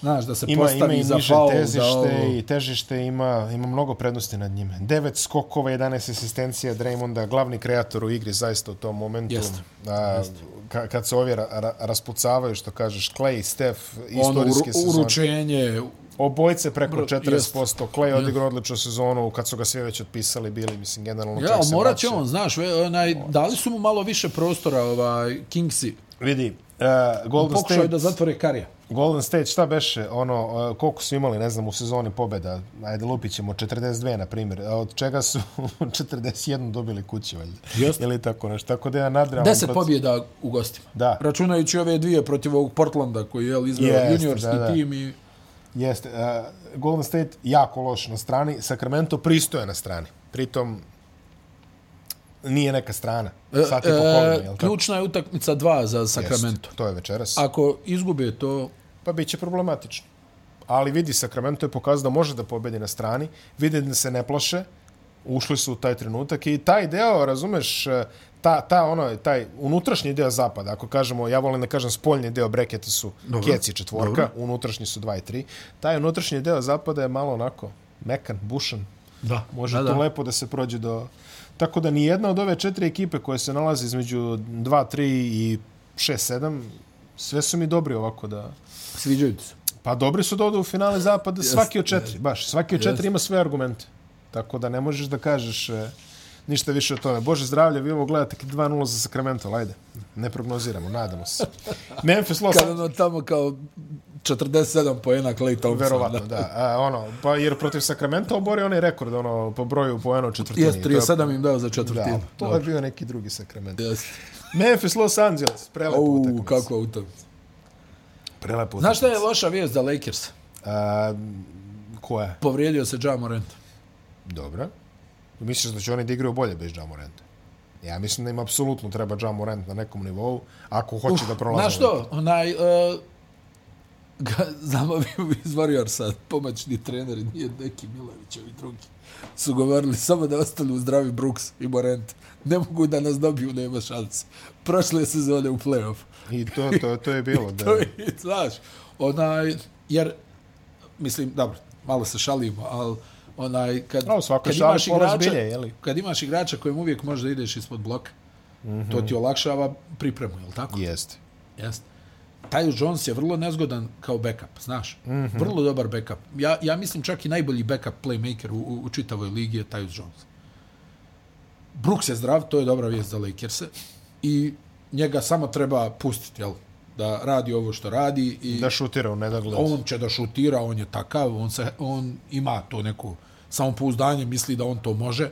Znaš, da se
Ima, ima
postavi
i
za
niže
faul, za ovo. ono,
tezište i težište, ima, ima mnogo prednosti nad njime. Devet skokova, 11 asistencija Draymonda, glavni kreator u igri zaista u tom momentu.
Jeste.
A, ka, kad se ovi ra, ra, raspucavaju, što kažeš, Clay, Steph,
ono,
istorijske
uru-
sezone.
uručenje,
Obojce preko
Bro,
40%, Clay odigrao odličnu sezonu, kad su ga svi već otpisali bili, mislim, generalno
Ja,
čak
ali
se
morat će
vraća.
on, znaš, ve- onaj, dali su mu malo više prostora, ovaj, Kingsi.
Vidi, uh, Golden
Pokušao je
State,
da zatvore Karija.
Golden State, šta beše, ono, e, koliko su imali, ne znam, u sezoni pobjeda? Ajde, lupit ćemo, 42, na primjer, a od čega su 41 dobili kući, valjda.
Jeste.
Ili tako nešto. Tako da je nadrealan...
Deset
proces-
pobjeda u gostima.
Da.
Računajući ove dvije protiv ovog Portlanda koji je izveo
Jeste,
juniorski
da, da.
tim i
Jeste. Uh, Golden State jako loš na strani, Sacramento pristoje na strani. Pritom, nije neka strana. Sat i po
E,
pogleda, jel tako?
ključna je utakmica 2 za Sacramento.
Jeste, To je večeras.
Ako izgube to,
Pa bit će problematično. Ali vidi, Sacramento je pokazao da može da pobedi na strani, vidi da se ne plaše, ušli su u taj trenutak i taj deo, razumeš, eh, ta, ta ono, taj unutrašnji deo zapada, ako kažemo, ja volim da kažem spoljni deo breketa su
Dobro,
Dobro. keci četvorka,
dobro.
unutrašnji su dva i tri, taj unutrašnji deo zapada je malo onako mekan, bušan,
da,
Može
da,
da,
da.
to lepo da se prođe do... Tako da ni jedna od ove četiri ekipe koje se nalaze između 2, 3 i 6, 7, sve su mi dobri ovako da...
Sviđaju ti se.
Pa dobri su da odu u finale zapada svaki od četiri, baš. Svaki od četiri
Jest.
ima sve argumente. Tako da ne možeš da kažeš e, ništa više o tome. Bože zdravlje, vi ovo gledate kad 2-0 za Sacramento, ajde. Ne prognoziramo, nadamo se. Memphis Los
Kad ono tamo kao 47 poena Clay Thompson.
Verovatno,
da.
da. A, ono, pa jer protiv Sacramento oborio onaj rekord ono, po broju poena u četvrtini.
Jes,
To je-
37 im dao za četvrtinu.
Da, to je bio neki drugi Sacramento.
Jeste.
Memphis, Los Angeles, prelepo
Au,
utakmica.
kako utakmica.
Prelepo
Znaš šta je loša vijest za Lakers?
A, koja?
Povrijedio se Ja Morant.
Dobro. Misliš da će oni da igraju bolje bez Jamorenta? Ja mislim da im apsolutno treba Jamorent na nekom nivou, ako hoće da prolaze.
Znaš što? Onaj, uh, ga, zamavio iz Warriorsa pomoćni trener i nije neki Milović, ovi drugi. Su govorili samo da ostanu zdravi Brooks i Morent. Ne mogu da nas dobiju, nema šanse. Prošle sezone u play-off.
I to, to, to je bilo. da.
To je, znaš, onaj, jer, mislim, dobro, malo se šalimo, ali onaj, kad,
A u svakoj
kad
šali
imaš
pola
igrača,
zbilje, je li?
kad imaš igrača kojem uvijek možeš da ideš ispod bloka, mm -hmm.
Mhm.
to ti olakšava pripremu, je li tako?
Jeste.
Jeste. Taj Jones je vrlo nezgodan kao backup, znaš. Mm
Mhm.
-hmm. Vrlo dobar backup. Ja, ja mislim čak i najbolji backup playmaker u, u, u čitavoj ligi je taj Jones. Brooks je zdrav, to je dobra vijest za Lakers-e. I njega samo treba pustiti, jel? Da radi ovo što radi i
Da šutira u nedogled.
on će da šutira, on je takav, on, se, on ima to neko samopouzdanje, misli da on to može.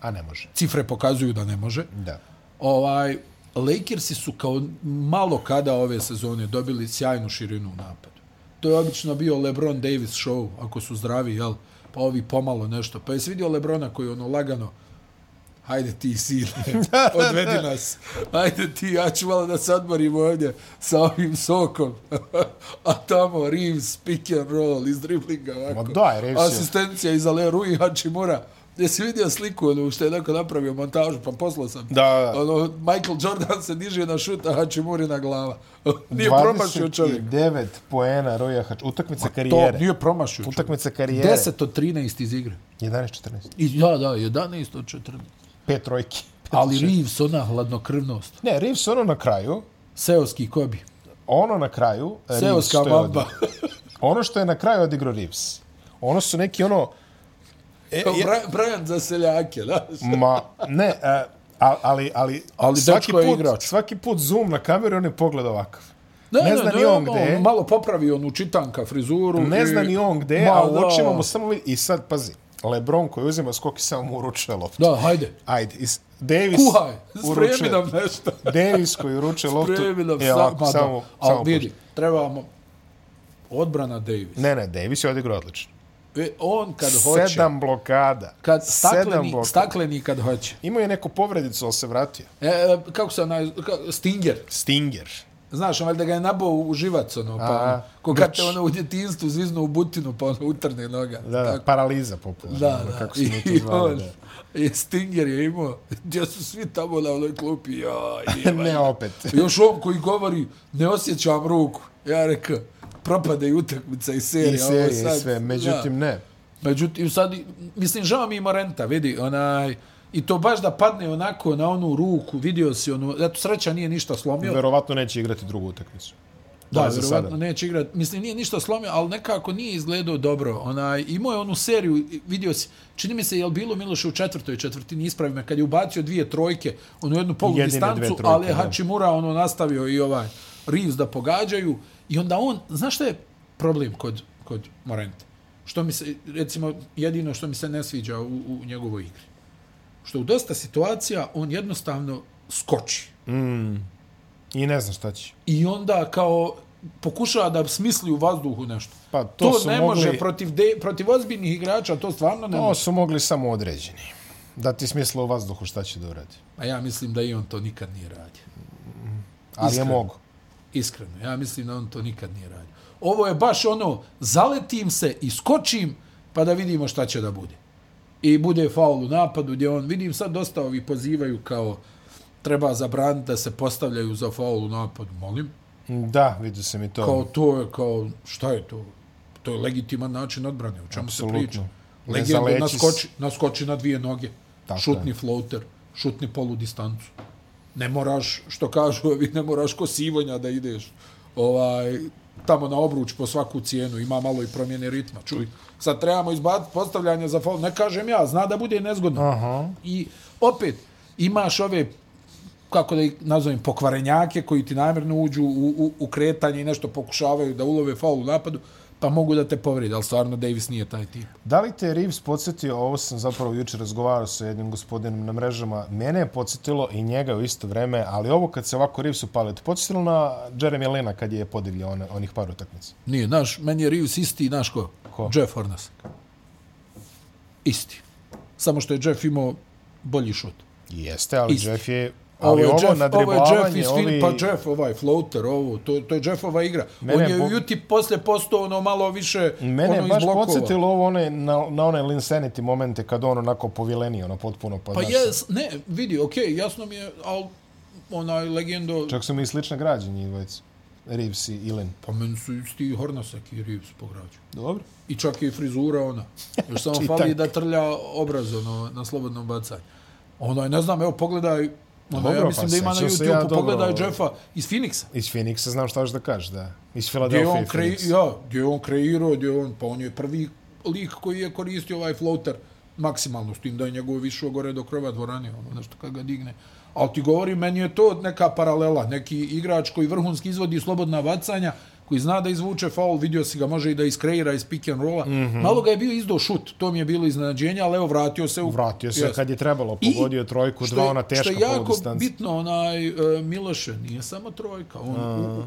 A ne može.
Cifre pokazuju da ne može
Da.
ovaj Lakersi su kao malo kada ove sezone dobili sjajnu širinu u napadu. To je obično bio LeBron Davis show, ako su zdravi, jel? Pa ovi pomalo nešto. Pa jesi vidio LeBrona koji ono lagano hajde ti sile, odvedi nas. Hajde ti, ja ću malo da se odmorim ovdje sa ovim sokom. A tamo Reeves, pick and roll, iz driblinga ovako.
Ma daj, Reeves je-
Asistencija iz Aleru i Hachimura. Jesi vidio sliku ono što je neko napravio montažu, pa poslao sam ti.
Da.
Ono, Michael Jordan se diže na šut, a Hachimurina glava. Nije promašio čovjek.
29 poena Roja Hač. Utakmica
To,
karijere.
nije promašio čovjek.
Utakmica karijere.
10 od 13 iz igre.
11-14.
I, da, da, 11 od 14.
Pet trojki. Pet
Ali
šest.
Reeves, ona hladnokrvnost.
Ne, Reeves ono na kraju,
Seoski Kobi.
ono na kraju, Reeves
Seoska
što je
bamba.
odigrao. ono što je na kraju odigrao Reeves, ono su neki ono, e,
Kao
je,
Bra- Brian za seljake, znaš.
ma, ne, e, a, ali, ali,
Ali
svaki,
dečko je
put,
igrač.
svaki put zoom na kameru i on je pogled ovakav.
Ne, ono,
Ne zna ni on gde je.
Malo popravi onu čitanka frizuru.
Ne
i-
zna ni on gde,
Ma,
a u
da.
očima mu samo vidi, i sad, pazi, Lebron koji uzima skok i samo mu uručuje loptu.
Da, hajde.
Ajde, is, Davis
Kuhaj, spremi
uručuje.
nam nešto.
Davis koji uručuje loptu.
Spremi nam
je ovako,
ma da.
samo,
Ali
samo
vidi,
pušta.
trebamo odbrana Davis.
Ne, ne, Davis je odigrao odlično.
E, on kad hoće,
Sedam blokada.
kad
sedam
stakleni,
blokada.
stakleni kad hoće.
Imao je neku povredicu, ali se vratio.
E, kako se onaj, ka, Stinger,
Stinger.
znaš, on da ga je nabao u živac, ono, pa,
A,
ono, ko kad
brč.
te ono u djetinstvu zviznu u butinu, pa ono utrne noga.
Da, da, paraliza popularna.
Da,
ono,
da.
Kako se mi to
I
zvalo,
on-
da.
I Stinger je imao, gdje su svi tamo na onoj klupi, joj, nije valjda.
Ne opet.
Još on koji govori, ne osjećam ruku. Ja rekao, propade i utakmica i serija.
I
ovo
serije i
sad,
sve. Međutim, ne.
Da. Međutim, sad, mislim, žao mi ima renta, vidi, onaj, I to baš da padne onako na onu ruku, vidio si onu, zato sreća nije ništa slomio.
Verovatno neće igrati drugu utakmicu.
Da,
Bar za
vjerovatno
sada.
neće igrat. Mislim, nije ništa slomio, ali nekako nije izgledao dobro. Onaj, imao je onu seriju, i vidio si, čini mi se, je li bilo Miloše u četvrtoj četvrtini ispravi me, kad je ubacio dvije trojke, onu jednu polu
Jedine
distancu,
dve trojke,
ali je
da.
Hachimura ono nastavio i ovaj Reeves da pogađaju I onda on, znaš šta je problem kod, kod Morente? Što mi se, recimo, jedino što mi se ne sviđa u, u njegovoj igri. Što u dosta situacija on jednostavno skoči.
I ne znam šta će.
I onda kao pokušava da smisli u vazduhu nešto.
Pa, to
to
su
ne može
mogli-
protiv, de, protiv ozbiljnih igrača, to stvarno ne
To
može.
su mogli samo određeni. Da ti smisla u vazduhu šta će da uradi.
A ja mislim da i on to nikad nije radio.
Ali je
Iskreno.
mogu.
Iskreno, ja mislim da on to nikad nije radio. Ovo je baš ono, zaletim se i skočim, pa da vidimo šta će da bude. I bude faul u napadu gdje on, vidim sad dosta ovi pozivaju kao treba zabraniti da se postavljaju za faul u napadu, molim.
Da, vidio sam i to.
Kao to je, kao, šta je to? To je legitiman način odbrane, o čemu
Apsolutno.
se priča.
Ne
Legenda
zaleći
naskoči, naskoči na dvije noge,
Tako
šutni
je.
floater, šutni polu distancu. Ne moraš, što kažu ovi, ne moraš ko sivonja da ideš ovaj, tamo na obruč po svaku cijenu, ima malo i promjene ritma, čuj. Sad trebamo izbaciti postavljanje za faul, ne kažem ja, zna da bude nezgodno.
Aha.
I opet, imaš ove kako da ih nazovem, pokvarenjake koji ti namjerno uđu u, u, u kretanje i nešto pokušavaju da ulove faul u napadu, pa mogu da te povrijede, ali stvarno Davis nije taj tip.
Da li te je Reeves podsjetio, ovo sam zapravo jučer razgovarao sa jednim gospodinom na mrežama, mene je podsjetilo i njega u isto vreme, ali ovo kad se ovako Reeves upale, te podsjetilo na Jeremy Lena kad je podivljao one, onih par utakmica.
Nije, naš, meni je Reeves isti, naš ko?
Ko?
Jeff Hornas. Isti. Samo što je Jeff imao bolji šut.
Jeste, ali
Isti.
Jeff je... Ali ovo, ovo
ovo je Jeff
nadribavanje,
iz
ovi...
ovi... pa Jeff ovaj floater, ovo, to, to je Jeffova igra.
Mene
On je
bo-
u Juti posle postao ono malo više
Mene je
ono iz
baš
blokova.
podsjetilo ovo one, na, na one Linsanity momente kad on onako povileni, ono potpuno pa,
Pa
znaš,
jes, ne, vidi, okej, okay, jasno mi je, ali onaj legendo...
Čak su mi i slična građenja i dvojica. Reeves i Ilen.
Pa meni su isti i Hornasak i Reeves po građu.
Dobro.
I čak je i frizura ona. Još samo
Čitak.
fali da trlja obraz ono, na slobodnom bacanju. Ono, ne znam, evo pogledaj, ono,
Dobro,
ja
pa
mislim da ima na
sećam se
YouTube,
ja
ja,
dobro,
pogledaj
ovaj.
Jeffa iz Phoenixa.
Iz Phoenixa znam šta hoćeš da kažeš, da. Iz
Gdje je
Philadelphia
on,
i
krei,
Phoenixa.
ja, gdje je on kreirao, gdje je on, pa on je prvi lik koji je koristio ovaj floater maksimalno, s tim da je njegov više gore do krova dvorane, ono nešto kad ga digne. Ali ti govori, meni je to neka paralela, neki igrač koji vrhunski izvodi slobodna bacanja, koji zna da izvuče faul, vidio si ga, može i da iskreira iz pick and rolla. Mm
Mhm.
-hmm. Malo ga je bio izdo šut, to mi je bilo iznenađenje, ali evo vratio se u...
Vratio se
Jeste.
kad je trebalo,
I
pogodio trojku,
što
dva
je-
ona teška
Što je jako
poludistanca.
bitno, onaj e, Miloše, nije samo trojka, on,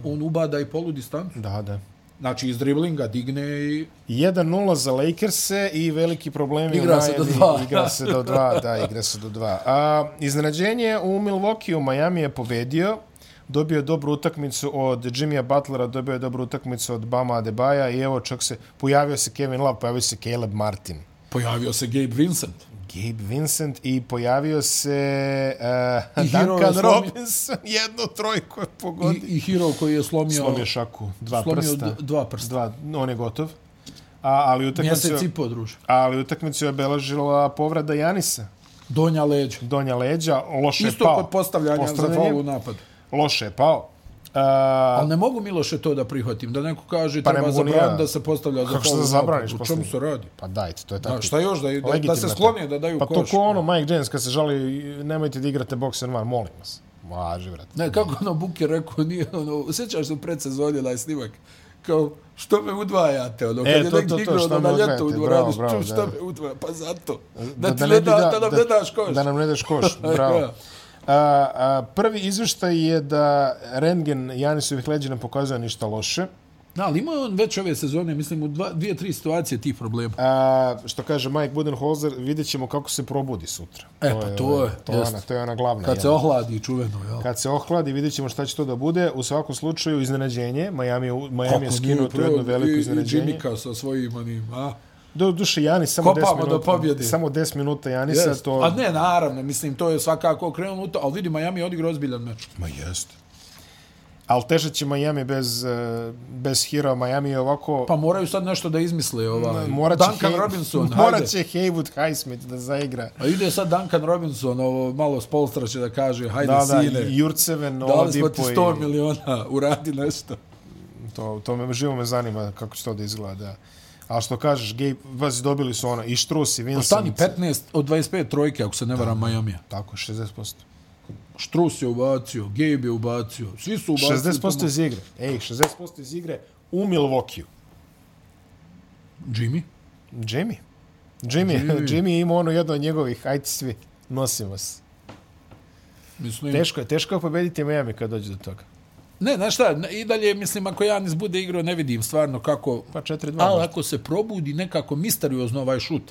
u, on ubada i polu distancu.
Da, da.
Znači, iz driblinga digne i...
1-0 za Lakers-e i veliki problemi
Igra
u
se do
Miami.
dva.
Igra se do dva, da, igra se do dva. A, iznenađenje u Milwaukee, Miami je pobedio. Dobio je dobru utakmicu od Jimmya Butlera, dobio je dobru utakmicu od Bama Adebaja i evo čak se pojavio se Kevin Love, pojavio se Caleb Martin.
Pojavio se Gabe Vincent.
Gabe Vincent i pojavio se uh,
I hero je
Duncan
slomio-
Robinson, jednu trojku je
I,
pogodio.
I hero koji je slomio,
Slomio šaku, dva
slomio
prsta.
d- dva prsta.
Dva, on je gotov. A, ali
Mjesec
utakmicu,
i po, druže.
ali utakmicu je obeležila povreda Janisa.
Donja leđa.
Donja leđa, loše je
Isto
pao.
kod postavljanja za
Postavljanje,
faul u napadu.
Loše je pao. Uh,
Ali ne mogu Miloše to da prihvatim, da neko kaže
Pa ne
treba
mogu ni ja.
zabraniti da se postavlja za
Kako
faul
što da
u
zabraniš
napadu. O čemu
postavljanje?
se radi?
pa dajte, to je tako.
Da, šta još, da, da, da
Legitimno
se
je to.
sklone, da daju
Pa to
koš.
ko ono, Mike James kad se žali, nemojte da igrate box and one, molim vas. Važi, vrat.
Ne, kako ono Buker rekao, nije ono, sjećaš se u predsezoni onaj snimak, kao, što me udvajate, ono, kad
E,
je
to,
negdje
to, to,
igrao
šta
ono, na
me
ljeto u
udvajate,
dvoranu,
bravo, bravo,
ču, što
da.
me udvaja, pa zato, da,
Da,
ti
ne
ne
bi
da, da, nam ne daš koš.
Da nam ne daš koš, bravo.
Da.
A, a, prvi izveštaj je da Rengen Janisovih leđa ne pokazuje ništa loše.
Da, ali imao je on već ove sezone, mislim, u dva, dvije, tri situacije tih problema.
A, što kaže Mike Budenholzer, vidjet ćemo kako se probudi sutra.
E, pa to
ovaj,
je,
to, je
jest.
ona, to je ona glavna.
Kad se
jedna.
ohladi čuveno, jel?
Kad se ohladi, vidjet ćemo šta će to da bude. U svakom slučaju, iznenađenje. Miami, je u- Miami je
Kako
skinuo
nije
to jedno
prvo,
veliko
i- i
iznenađenje.
Jimmy Kao sa svojim onim, a?
Do duše, Janis samo 10
Kopamo
minuta.
do pobjede.
Samo 10 minuta Janisa.
Jest.
E To...
A ne, naravno, mislim, to je svakako krenulo u to, ali vidi, Miami je odigrao ozbiljan meč.
Ma jeste. Ali teže će Miami bez, eh, bez hira. Miami je ovako...
Pa moraju sad nešto da izmisle, ovaj,
morat će
Duncan
Hay-
Robinson,
morat
hajde.
će Haywood Highsmith da zaigra.
A ide sad Duncan Robinson, ovo malo s polstra će da kaže, hajde
Da, da,
sine,
Jurceven,
dali smo ti
Oladipo
100
i...
miliona, uradi nešto.
To, to me, živo me zanima kako će to da izgleda. A što kažeš, Gabe, vas dobili su ono, i Štrus, i Vincent.
Stani 15 od 25 trojke, ako se ne varam, Majamija.
Tako, 60%.
Štrus je ubacio, Gabe je ubacio, svi su ubacili.
60% iz igre. Ej, 60% iz igre u Milvokiju.
Jimmy?
Jimmy. Jimmy, Jimmy. Jimmy je imao ono jedno od njegovih, ajde svi, nosimo se.
Mislim,
Teško je, teško je pobediti Miami kad dođe do toga.
Ne, znaš šta, i dalje, mislim, ako Janis bude igrao, ne vidim stvarno kako...
Pa 4-2
Ali
možda.
ako se probudi nekako misteriozno ovaj šut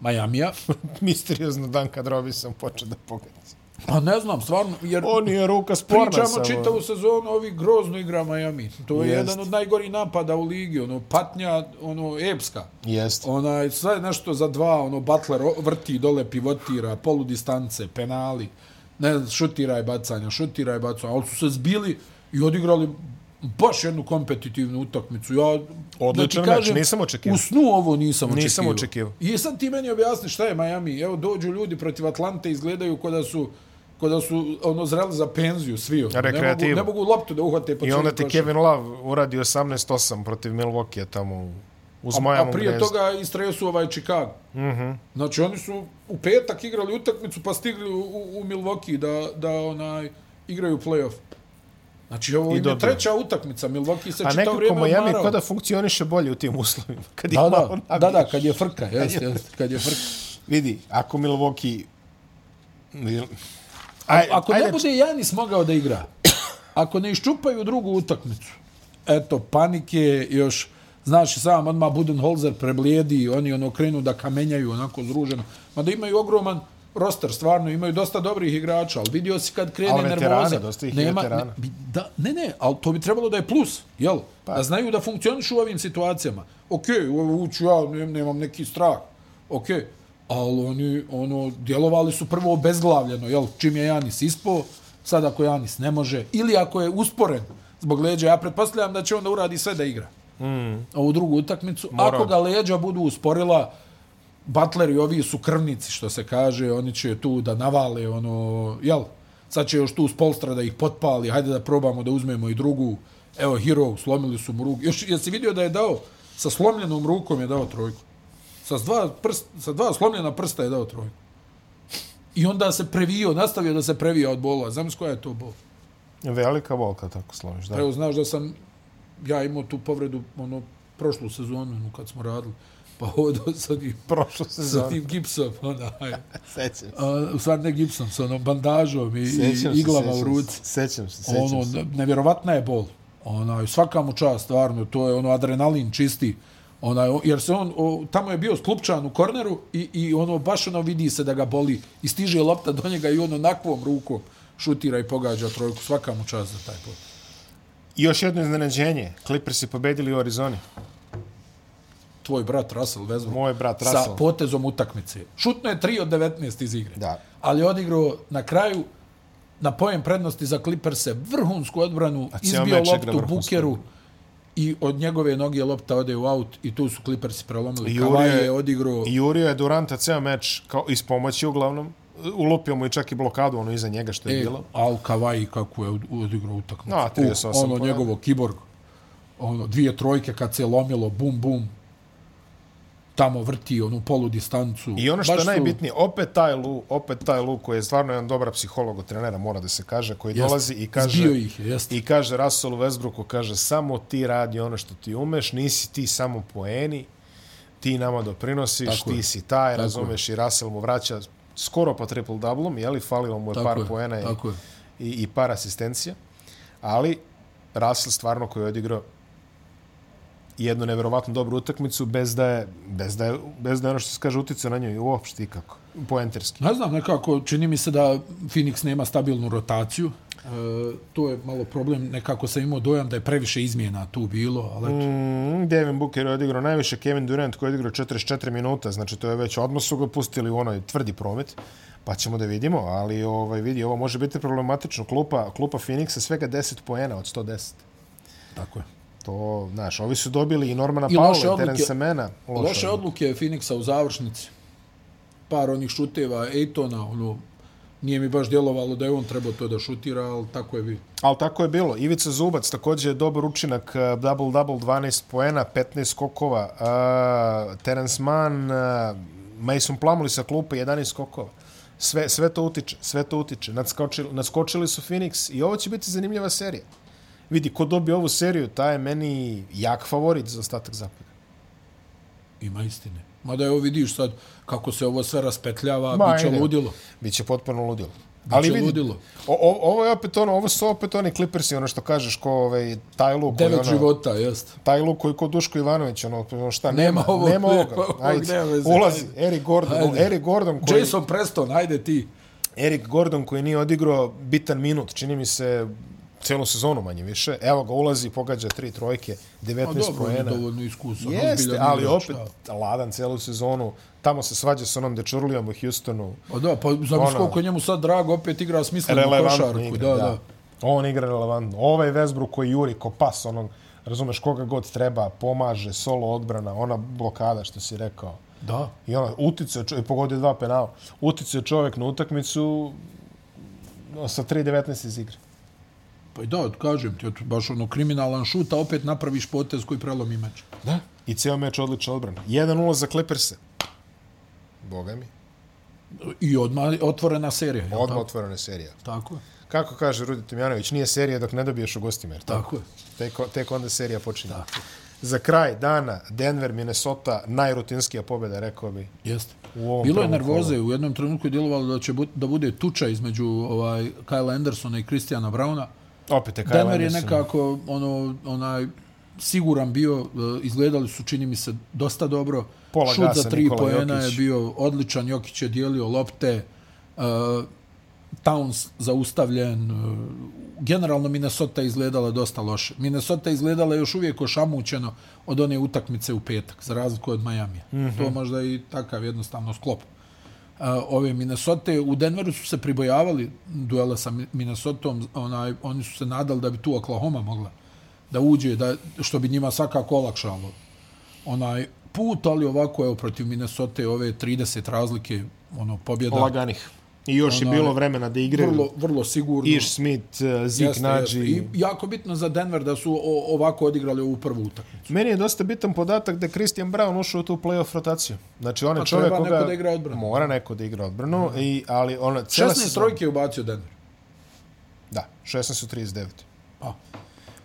Majamija,
Misteriozno Duncan Robinson poče da pogađa.
pa ne znam, stvarno, jer
On je ruka sporna
pričamo
samo.
čitavu sezonu, ovi grozno igra Miami. To je
Jest.
jedan od najgorih napada u ligi, ono, patnja, ono, epska.
Jeste.
Onaj, sve nešto za dva, ono, Butler o- vrti dole, pivotira, poludistance, penali, ne znam, šutira i bacanja, šutira i bacanja, ali su se zbili i odigrali baš jednu kompetitivnu utakmicu. Ja,
Odličan
da ti
meč, nisam očekivao.
U snu ovo nisam očekivao.
Nisam očekivao.
I sad ti meni objasni šta je Miami. Evo, dođu ljudi protiv Atlante, izgledaju ko da su ko da su ono zreli za penziju svi. Ono. Ne, mogu,
Rekreativa.
ne mogu loptu da uhvate po
I
cijelom
onda ti
košu.
Kevin Love uradi 18-8 protiv Milwaukee tamo uz
A,
Miami
a prije toga istresu ovaj Chicago. Mhm. Znači oni su u petak igrali utakmicu pa stigli u, u, u Milwaukee da, da onaj igraju play-off. Znači ovo im je
dobili.
treća utakmica. Milwaukee se
A
čitao
nekako
znači, vrijeme
Miami
odmarao.
kod da funkcioniše bolje u tim uslovima. Kad ih
Da,
malo
da, da,
nabiješ.
da, kad je frka, jeste, jeste, kad je frka.
Vidi, ako Milwaukee... Aj,
Ako ne bude Janis mogao da igra, ako ne iščupaju drugu utakmicu, eto, panike još, znaš i sam, odmah Budenholzer preblijedi, oni ono krenu da kamenjaju onako zruženo. Mada imaju ogroman roster, stvarno, imaju dosta dobrih igrača, ali vidio si kad krene
Ali veterana,
nervoza.
dosta ih je
Nema, ne,
veterana.
bi- da, ne, ne, ali to bi trebalo da je plus, jel? Pa. Da znaju da funkcionišu u ovim situacijama. Okej, okay, uću ja, ne- nemam neki strah. Okej, okay. ali oni, ono, djelovali su prvo bezglavljeno, jel? Čim je Janis ispao, sad ako Janis ne može, ili ako je usporen zbog leđa, ja pretpostavljam da će onda uradi sve da igra. Mm. Ovu drugu utakmicu. Mora. Ako ga leđa budu usporila, Butler i ovi su krvnici, što se kaže, oni će tu da navale, ono, jel? Sad će još tu s polstra da ih potpali, hajde da probamo da uzmemo i drugu. Evo, Hero, slomili su mu ruku. Još, jesi vidio da je dao, sa slomljenom rukom je dao trojku. Sa dva, prst, sa dva slomljena prsta je dao trojku. I onda se previo, nastavio da se previja od bola. Znam s koja je to bol.
Velika volka tako sloviš, da.
Evo, znaš da sam ja imao tu povredu, ono, prošlu sezonu, ono, kad smo radili. Pa ovo sa tim,
Prošlo
sa
sezon.
tim gipsom, ono, onaj.
Sećam se.
A, u stvari ne gipsom, sa onom bandažom i,
Sećam
i
se,
iglama
sećam
u ruci.
se, Sećam se, sećam
Ono,
se.
ne- nevjerovatna je bol. Onaj, svaka mu čast, stvarno, to je ono adrenalin čisti. Onaj, o- jer se on, o, tamo je bio sklupčan u korneru i, i ono, baš ono vidi se da ga boli i stiže lopta do njega i ono nakvom rukom šutira i pogađa trojku. Svaka mu čast za taj pot.
I još jedno iznenađenje. Clippers je pobedili u Arizoni.
Tvoj brat Russell Westbrook.
Moj brat
Sa
Russell.
potezom utakmice. Šutno je 3 od 19 iz igre.
Da.
Ali je odigrao na kraju na pojem prednosti za Clippers-e vrhunsku odbranu,
cijel
izbio
meč igra
loptu
vrhunsku.
Bukeru i od njegove noge lopta ode u aut i tu su Clippersi prelomili.
Jurio
Kavaj je
je-
odigrao
I Jurio je Duranta ceo meč kao iz pomoći uglavnom. Ulupio mu i čak i blokadu ono iza njega što je
E,
bilo.
Al Kavaj kako je odigrao utakmicu.
No, 38
ono
poena.
njegovo kiborg. Ono dvije trojke kad se lomilo bum bum. Tamo vrti onu polu distancu.
I ono što
Baš
je
su-
najbitnije, opet taj Lu, opet taj Lu koji je stvarno jedan dobar psiholog od trenera, mora da se kaže, koji
Jeste.
dolazi i kaže...
Zbio ih je, jeste.
I kaže Russell Westbrooku, kaže, samo ti radi ono što ti umeš, nisi ti samo poeni, ti nama doprinosiš,
Tako
ti
je.
si taj, razumeš, i Russell mu vraća skoro pa triple doublom, jeli, falilo mu je
Tako
par
je,
poena i,
tako je.
i, i par asistencija, ali Russell stvarno koji je odigrao jednu neverovatno dobru utakmicu bez da je, bez da je, bez da je ono što se kaže uticao na nju i uopšte ikako, poenterski.
Ne znam, nekako, čini mi se da Phoenix nema stabilnu rotaciju. E, to je malo problem, nekako sam imao dojam da je previše izmjena tu bilo, ali eto,
Mm, Devin Booker je odigrao najviše, Kevin Durant koji je odigrao 44 minuta, znači to je već odmah su ga pustili u onaj tvrdi promet, pa ćemo da vidimo, ali ovaj, vidi, ovo može biti problematično. Klupa, klupa Phoenixa svega 10 poena od 110.
tako je.
To, znaš, ovi su dobili i Normana
I loše
Paula,
odluke.
Terence Mena.
Loše, odluke je Phoenixa u završnici. Par onih šuteva, Ejtona, ono, nije mi baš djelovalo da je on trebao to da šutira, ali tako je bilo.
Ali tako je bilo. Ivica Zubac također je dobar učinak, eh, double-double, 12 poena, 15 skokova. Eh, Uh, Terence Mann, uh, Mason Plumlee sa klupe, 11 skokova. Sve, sve to utiče, sve to utiče. Nadskočili, nadskočili su Phoenix i ovo će biti zanimljiva serija. Vidi, ko dobije ovu seriju, taj je meni jak favorit za ostatak zapada.
Ima istine. Mada evo vidiš sad kako se ovo sve raspetljava,
Ma,
Ma, biće
ajde.
ludilo.
Biće potpuno ludilo.
Ali
Ali
biće
vidi,
ludilo.
o, o, ovo je opet ono, ovo su opet oni Clippersi, ono što kažeš, ko ovaj, taj luk, koji,
Devet
ono,
života, jest.
taj luk koji ko Duško Ivanović, ono, ono šta,
Nema
nema,
ovog,
nema
nema
ovoga.
ovog,
Ajde,
nema veze,
ulazi,
ajde.
Eric Gordon,
Ajde.
Eric Gordon koji...
Jason Preston, ajde ti.
Erik Gordon koji nije odigrao bitan minut, čini mi se celu sezonu manje više. Evo ga ulazi, pogađa tri trojke,
Pa
19
dobro, on je
poena.
dovoljno iskusan.
Jeste,
ozbiljan
ali
igrač,
opet
da.
ladan celu sezonu. Tamo se svađa sa onom dečurlijom u Houstonu.
Pa da, pa zamisli
Ono-
koliko je njemu sad drago, opet igra smislenu
Relevantno
košarku.
igra,
da, da.
On igra relevantno. Ovaj Westbrook koji juri ko pas, onom, razumeš, koga god treba, pomaže, solo odbrana, ona blokada što si rekao.
Da.
I ono, uticao čovjek, pogodio dva penala, uticao čovjek na utakmicu no, sa 3.19 iz igre.
Pa i da, kažem ti, eto, baš ono kriminalan šut, a opet napraviš potez koji prelomi meč.
Da. I ceo meč odlična odbrana. 1-0 za Clippers-e. Boga mi.
I odmah otvorena serija. jel
Odmah
tako?
otvorena serija.
Tako je.
Kako kaže Rudi Tomjanović, nije serija dok ne dobiješ u gostima. Jer tako?
Tako je.
Tek, tek onda serija počinje. Tako. Za kraj dana, Denver, Minnesota, najrutinskija pobjeda, rekao bi.
Jeste.
U ovom ono.
Bilo je
prvom
nervoze, u jednom trenutku je djelovalo da će bu- da bude tuča između ovaj Kyle Andersona i Kristijana Brauna.
Opet je Kyle
Denver je
Anderson.
nekako ono onaj siguran bio, e, izgledali su čini mi se dosta dobro.
Pola
Šut
gasa
za tri
Nikola
poena
Jokić.
je bio odličan, Jokić je dijelio lopte. Uh, Towns zaustavljen. e, Generalno Minnesota je izgledala dosta loše. Minnesota je izgledala još uvijek ošamućeno od one utakmice u petak, za razliku od Majamija. Mm
Mhm.
-hmm. To možda i takav jednostavno sklop a, ove Minnesota. U Denveru su se pribojavali duela sa Mi- Minnesotom, onaj, oni su se nadali da bi tu Oklahoma mogla da uđe, da, što bi njima svakako olakšalo onaj put, ali ovako je protiv Minnesota ove 30 razlike ono pobjeda
Laganih. I još je
Ono-
bilo vremena da igraju.
vrlo vrlo sigurno.
Iš Smith, eh, Zeke
Jeste, jeste. I
Nagy.
jako bitno za Denver da su o, ovako odigrali ovu prvu utakmicu.
Meni je dosta bitan podatak da je Christian Brown ušao u tu playoff rotaciju. Znači, on je
Pa
čovjek
treba
koga...
neko da igra odbranu. Mhm.
Mora neko da igra odbranu. I, ali ona, cela
16
sezona-
trojke je ubacio Denver.
Da, 16 u 39.
Pa.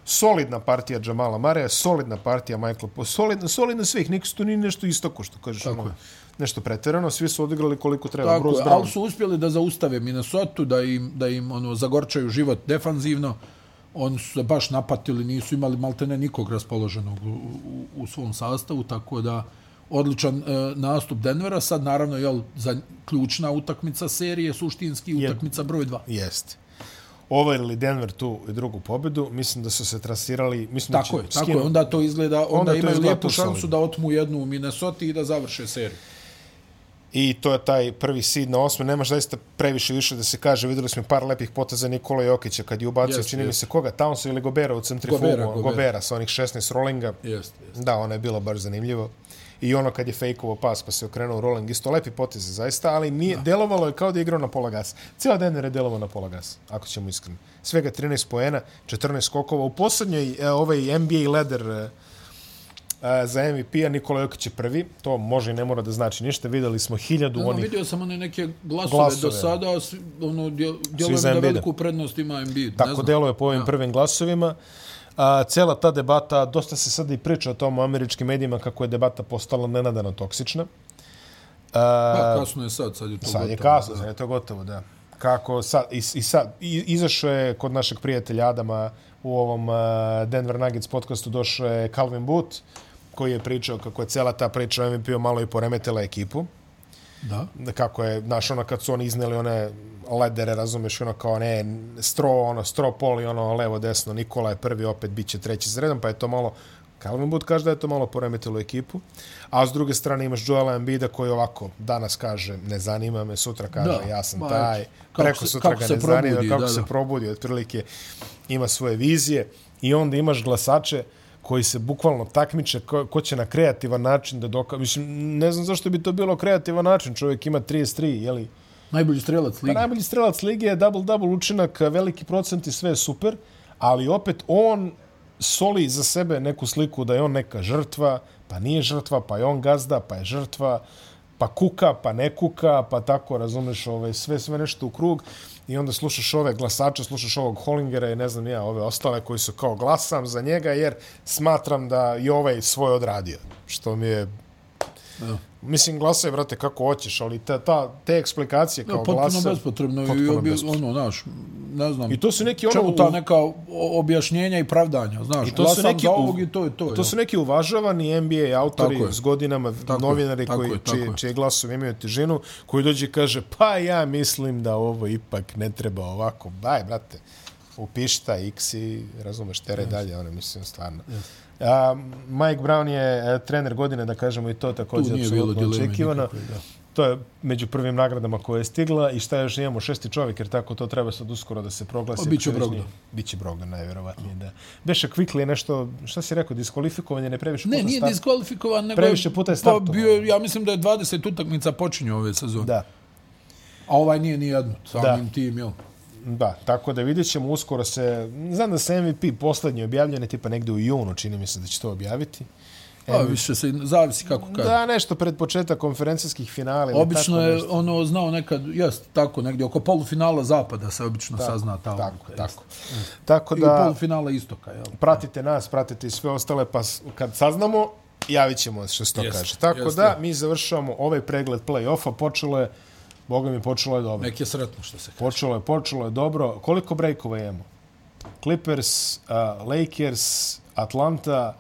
Solidna partija Jamala Mareja, solidna partija Michael Po, solidna, solidna svih, niko su tu ni nešto istoko što kažeš.
Tako
ono,
je.
nešto preterano, svi su odigrali koliko treba.
Tako,
Bruce
je,
Brown.
ali su uspjeli da zaustave Minnesota, da im, da im ono, zagorčaju život defanzivno. Oni su se baš napatili, nisu imali maltene nikog raspoloženog u, u, u svom sastavu, tako da odličan e, nastup Denvera. Sad naravno jel, za ključna utakmica serije, suštinski utakmica broj 2.
Jeste. Ovaj ili Denver tu i drugu pobedu, mislim da su se trasirali, mislim
Tako
da
je,
će Znači,
tako je.
skinu-
Onda to izgleda, onda,
Onda
onda
to
imaju
izgleda
lijepu
tu
šansu
solidno.
da otmu jednu u Minnesota i da završe seriju.
I to je taj prvi seed na osme. Nemaš zaista previše više da se kaže. Videli smo par lepih poteza Nikola Jokića kad je ubacio,
Jeste,
čini mi
jeste.
se koga, Townsa ili Gobera u centrifugu.
Gobera,
Gobera,
Gobera.
sa onih 16 rollinga.
Jeste, jeste.
Da, ono je bilo baš zanimljivo. I ono kad je fejkovo pas pa se okrenuo rolling, isto lepi poteze zaista, ali nije, delovalo je kao da je igrao na pola gasa. Cijela Denver je delovao na pola gasa, ako ćemo iskreno. Svega 13 poena, 14 skokova. U posljednjoj e, ovaj NBA leder e, e, za MVP-a Nikola Jokić je prvi. To može i ne mora da znači ništa. Videli smo hiljadu
Ono,
onih
vidio sam one neke glasove,
Glasove.
do sada, a svi- ono, djel, djelujem
za
da
Embiida.
veliku prednost ima Embiid. ne
Tako
znam.
deluje po ovim prvim glasovima. A, cela ta debata, dosta se sada i priča o tom u američkim medijima kako je debata postala nenadano toksična.
Pa, kasno je sad, sad je to
Sad je
gotovo,
kasno,
da.
sad je to gotovo, da. Kako sad, i, i sad, i, izašao je kod našeg prijatelja Adama u ovom uh, Denver Nuggets podcastu došao je Calvin Booth, koji je pričao kako je cela ta priča o MVP-u malo i poremetila ekipu
Da.
da kako je, znaš, ono kad su oni izneli one ledere, razumeš, ono kao ne, stro, ono, stro pol i ono levo, desno, Nikola je prvi, opet bit će treći za redom, pa je to malo, Calvin Booth kaže da je to malo poremetilo ekipu, a s druge strane imaš Joela Embida koji ovako danas kaže ne zanima me, sutra kaže
Da,
ja sam
ma,
taj,
kako
preko
se-
sutra
kako
ga
se
ne zanima,
probudi,
kako
da,
se
da.
probudi, otprilike ima svoje vizije i onda imaš glasače koji se bukvalno takmiče ko, ko će na kreativan način da doka... Mislim, ne znam zašto bi to bilo kreativan način. Čovjek ima 33, jeli?
Najbolji strelac
Pa
lige.
najbolji strelac lige je double-double učinak, veliki procent i sve je super, ali opet on soli za sebe neku sliku da je on neka žrtva, pa nije žrtva, pa je on gazda, pa je žrtva, pa pa kuka, pa ne kuka, pa tako, razumeš, ovaj, sve, sve nešto u krug i onda slušaš ove glasače, slušaš ovog Hollingera i ne znam ja, ove ostale koji su kao glasam za njega jer smatram da i ovaj svoj odradio, što mi je Mislim, glasaj, brate, kako hoćeš, ali ta, ta, te eksplikacije kao
Da, potpuno
glasa...
bespotrebno i
potpuno
obje,
bespotrebno.
ono, znaš, ne znam.
I to su neki ono...
Čemu ta
u-
neka o- objašnjenja i pravdanja, znaš,
to su
glasam
neki
za
u-
ovog i to je to.
To
jel?
su neki uvažavani NBA autori
Tako je.
s godinama,
je,
novinari
tako
koji,
je, tako
čije,
je.
čije glasovi imaju težinu, koji dođe i kaže, pa ja mislim da ovo ipak ne treba ovako. Daj, brate, upiši ta X i razumeš, tere dalje, ono mislim, stvarno. A, Mike Brown je e, trener godine, da kažemo i to
Tu
također
nije bilo
apsolutno
dileme
očekivano.
nikakve, da.
To je među prvim nagradama koja je stigla i šta još imamo, šesti čovjek, jer tako to treba sad uskoro da se proglasi.
Pa, bit će
Ako već
Brogdon.
nije- Biće Brogdon, najvjerovatnije, da. Beše Quickly je nešto, šta si rekao, diskvalifikovan je, ne previše
Ne,
puta
nije
start-
diskvalifikovan, nego
Previše puta je startovao.
Pa bio, je- ja mislim da je 20 utakmica počinju ove sezone.
Da,
A ovaj nije ni jednu, samim tim, jel?
da, tako da vidjet ćemo uskoro se, znam da se MVP poslednji objavljen je tipa negde u junu, čini mi se da će to objaviti.
A, Pa više se, zavisi kako kada.
Da, nešto pred početak konferencijskih finala. ili
Obično
tako
je
nešto.
ono znao nekad, jest, tako negdje, oko polufinala zapada se obično sazna ta
Tako,
odluka, jest.
tako. Tako
I
da,
polufinala istoka, jel?
pratite nas, pratite i sve ostale, pa s- kad saznamo, javit ćemo vas što se to
Jeste,
kaže. Tako
jeste.
da, mi završavamo ovaj pregled play-offa, počelo je, boga mi, počelo je dobro.
Nek je sretno što se kaže.
Počelo je, počelo je dobro. Koliko brejkova imamo? Clippers, uh, Lakers, Atlanta,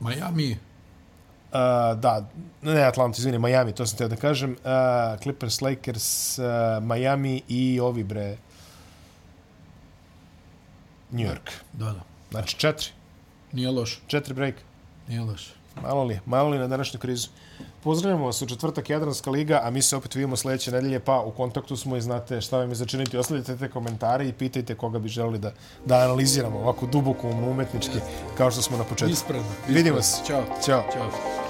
Miami,
uh, da, ne Atlanta, izvini, Miami, to sam teo da kažem. Uh, Clippers, Lakers, uh, Miami i ovi bre, New York.
da, da,
Znači četiri,
nije loš,
četiri brejka.
nije loš.
Malo li, malo li na današnju krizu. Pozdravljamo vas u četvrtak Jadranska liga, a mi se opet vidimo sljedeće nedelje, pa u kontaktu smo i znate šta vam je začiniti. Ostavljajte te komentare i pitajte koga bi želili da, da analiziramo ovako duboko umetnički, kao što smo na početku.
Ispredno.
Vidimo se.
Ćao.
Ćao.
Ćao.